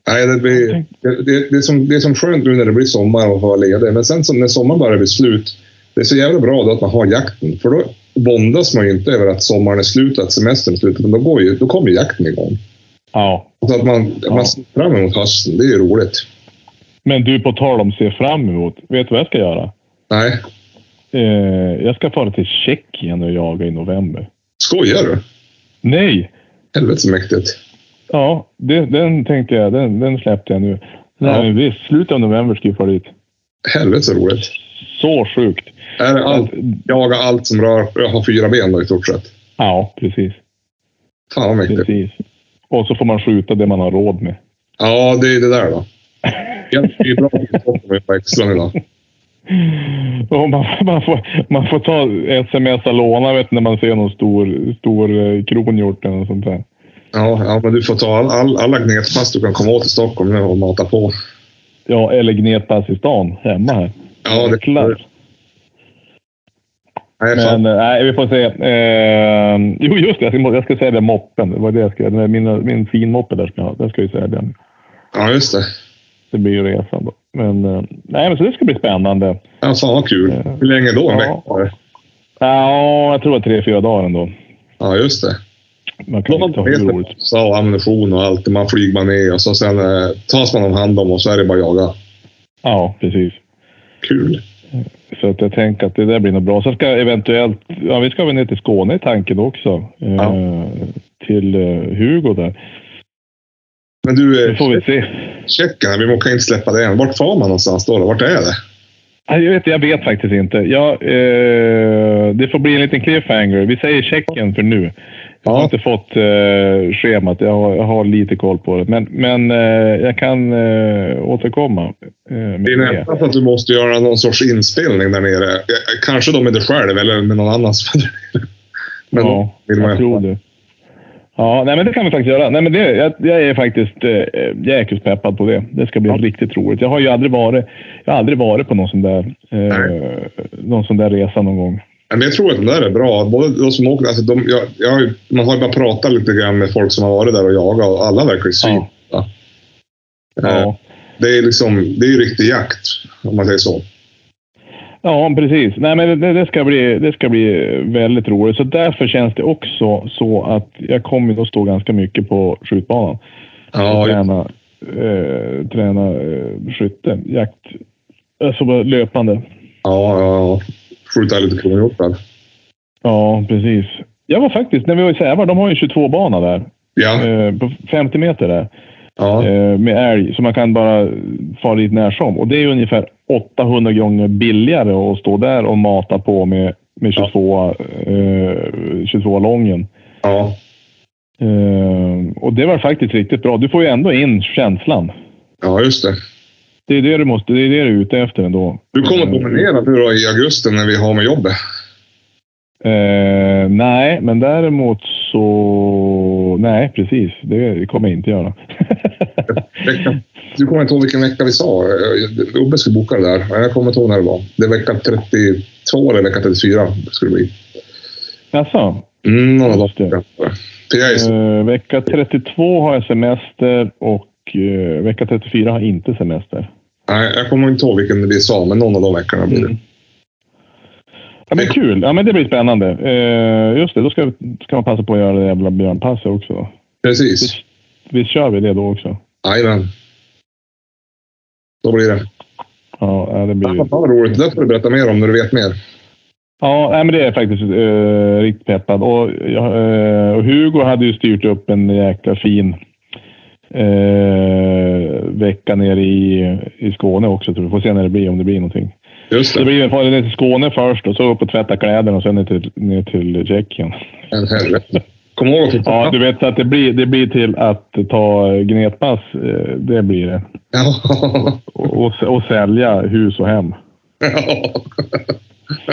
A: Nej, det, blir, det, det, det, är som, det är som skönt nu när det blir sommar och vara ledig. Men sen som när sommaren börjar bli slut, det är så jävla bra då att man har jakten. För då bondas man ju inte över att sommaren är slut och att semestern är slut. Utan då, går ju, då kommer ju jakten igång.
B: ja,
A: Så att man,
B: Ja.
A: man ser fram emot hösten, det är ju roligt.
B: men du på tal om se fram emot. Vet du vad jag ska göra?
A: Nej,
B: Eh, jag ska fara till Tjeckien och jaga i november.
A: skojar du?
B: Nej,
A: Helvete så mäktigt.
B: ja, det, den tänkte jag. Den, den släppte jag nu. Nej,
A: Ja.
B: men visst. Slutet av november ska vi fara dit.
A: Helvete så roligt.
B: Så sjukt.
A: Är det allt, jaga allt som rör, har fyra ben då i stort sett.
B: Ja, precis.
A: Fan vad mäktigt.
B: precis. Och så får man skjuta det man har råd med.
A: Ja, det är det där då. Jag är bra på extra idag.
B: Och man, man, får, man får ta sms och låna vet, när man ser någon stor, stor eh, kronhjort eller något sånt där.
A: Ja, ja, men du får ta all, all, alla gnetpass du kan komma åt i Stockholm nu och mata på.
B: Ja, eller gnetpass i stan hemma här.
A: Ja, det
B: klart.
A: Nej, fan.
B: Men eh, nej, vi får se. Eh, jo, just det. Jag ska, jag ska sälja moppen. Det var det jag ska göra. Min, min finmoppe där ska jag ha. Den ska jag ju sälja.
A: Ja, just det.
B: Det blir ju resan då. Men, eh, nej, men så det ska bli spännande.
A: Ja, fan vad kul. Hur länge då? En
B: Ja.
A: vecka?
B: Ja, jag tror att tre, fyra dagar ändå.
A: Ja, just det.
B: Man kan inte ha hur roligt.
A: Kilometer, så ammunition och allt. Man flyger man ner och så sen eh, tas man om hand om och så är det bara jaga.
B: Ja, precis.
A: Kul.
B: Så att jag tänker att det där blir nog bra. Sen ska jag eventuellt, ja vi ska väl ner till Skåne i tanken också. Eh, Till eh, Hugo där.
A: Men du,
B: Det får vi
A: eh,
B: se.
A: Tjeckien, vi må- kan inte släppa det än. Vart far man någonstans då? då? Vart är det?
B: Nej, Jag vet, jag vet faktiskt inte. Ja, eh, det får bli en liten cliffhanger. Vi säger Tjeckien för nu. Jag har
A: Ja.
B: inte fått eh, schemat. Jag har, jag har lite koll på det. Men, men eh, jag kan eh, återkomma. Eh, med
A: Det är
B: det.
A: nästan så att du måste göra någon sorts inspelning där nere. Eh, Kanske då med dig själv eller med någon annan. som- Men
B: ja,
A: då vill man
B: jag tror det. Ja, nej, men det kan vi faktiskt göra. Nej, men det, jag, jag är faktiskt eh, jäkligt peppad på det. Det ska bli riktigt roligt. Jag har ju aldrig varit, jag har aldrig varit på någon sån där, eh, någon sån där resa någon gång.
A: Men jag tror att det där är bra. Både de som åker, alltså de, jag, jag, har ju- man har ju bara pratat lite grann med folk som har varit där och jagat och alla verkar ju svin. Eh,
B: Ja.
A: Det är liksom, det är ju riktig jakt, om man säger så.
B: ja, precis. Nej, men det, det, ska bli, det ska bli väldigt roligt. Så därför känns det också så att jag kommer att stå ganska mycket på skjutbanan.
A: Ja, ja.
B: träna, eh, träna eh, skytte, jakt. Alltså bara löpande.
A: Ja, ja, ja. Skjuta lite kronhjortar.
B: Ja, precis. Jag var faktiskt, när vi var i Sävar, de har ju en 22-bana där.
A: Ja,
B: Eh, på 50 meter där.
A: ja.
B: eh, med älg. Så man kan bara fara dit när som. Och det är ju ungefär 800 gånger billigare att stå där och mata på med, med 22, eh, 22 lången.
A: ja.
B: Eh, och det var faktiskt riktigt bra. Du får ju ändå in känslan.
A: Ja, just det.
B: Det är det du, måste, det är det du är ute efter ändå.
A: Du kommer
B: Mm.
A: promenera nu då i augusti när vi har med jobbet.
B: Eh, nej, men däremot så... Nej, precis. Det kommer jag inte göra.
A: Vecka. Du kommer inte ihåg vilken vecka vi sa. Ubbe skulle boka det där. Jag kommer inte ihåg när det var. Det är vecka 32 eller vecka 34 skulle det bli.
B: Jaså?
A: Mm, några
B: Just det.
A: dagar. PA är så-
B: Eh, vecka 32 har jag semester och eh, vecka 34 har inte semester.
A: Nej, jag kommer inte ihåg vilken vi sa, men någon av de veckorna blir det.
B: Mm. Ja, men kul! Ja, men det blir spännande. Eh, just det, då ska, ska man passa på att göra det jävla björnpasset också.
A: Precis.
B: Visst kör vi det då också?
A: Jajamän. Då blir
B: Mm.
A: det.
B: Ja, ja, det blir ju...
A: Ja, Vad roligt. Det där får du berätta mer om när du vet mer.
B: Ja, nej, men det är jag faktiskt eh, riktigt peppad. Och, ja, eh, och Hugo hade ju styrt upp en jäkla fin eh, vecka nere i, i Skåne också. Tror jag. Får se när det blir, om det blir någonting.
A: Just
B: Så det
A: det.
B: blir en fara ner till Skåne först och så upp och tvätta kläderna och sen ner till, ner till Tjeckien.
A: En helvete. Kom ihåg att
B: Ja,
A: titta.
B: du vet så att det blir, det blir till att ta gnetpass. eh, Det blir det.
A: Ja.
B: Och, och, och sälja hus och hem.
A: Ja.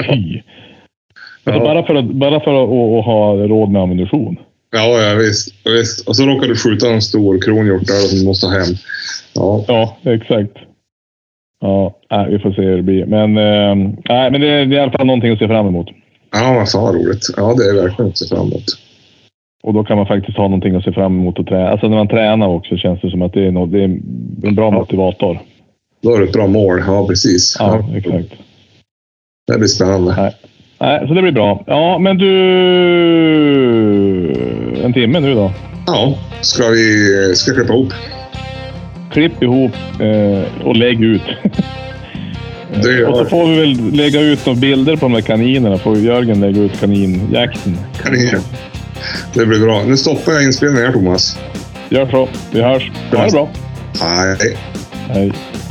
B: Fy! Alltså
A: Ja.
B: bara för att, bara för att, att, att ha råd med ammunition.
A: Ja, ja visst, visst. Och så råkar du skjuta en stor kronhjort där som du måste ha hem. Ja,
B: Ja, exakt. Ja, nej, vi får se hur det blir. Men, eh, nej, men det, är, det är i alla fall någonting att se fram emot.
A: ja vad fan vad roligt. Ja, det är verkligen att se fram emot.
B: Och då kan man faktiskt ha någonting att se fram emot och träna. Alltså när man tränar också känns det som att det är, något, det är en bra motivator.
A: Då är det ett bra mål. Ja, precis.
B: Ja, exakt.
A: Det blir spännande.
B: Nej, så det blir bra. Ja, men du... En timme nu då.
A: Ja, ska vi ska jag klippa ihop?
B: Klipp ihop eh, och lägg ut.
A: Det gör
B: och så
A: jag.
B: får vi väl lägga ut några bilder på de här kaninerna. Får Jörgen lägga ut kaninjakten.
A: Kanin. Det blir bra. Nu stoppar jag inspelningen här, Thomas.
B: Gör så. Vi hörs. Ha det bra.
A: Nej.
B: Hej.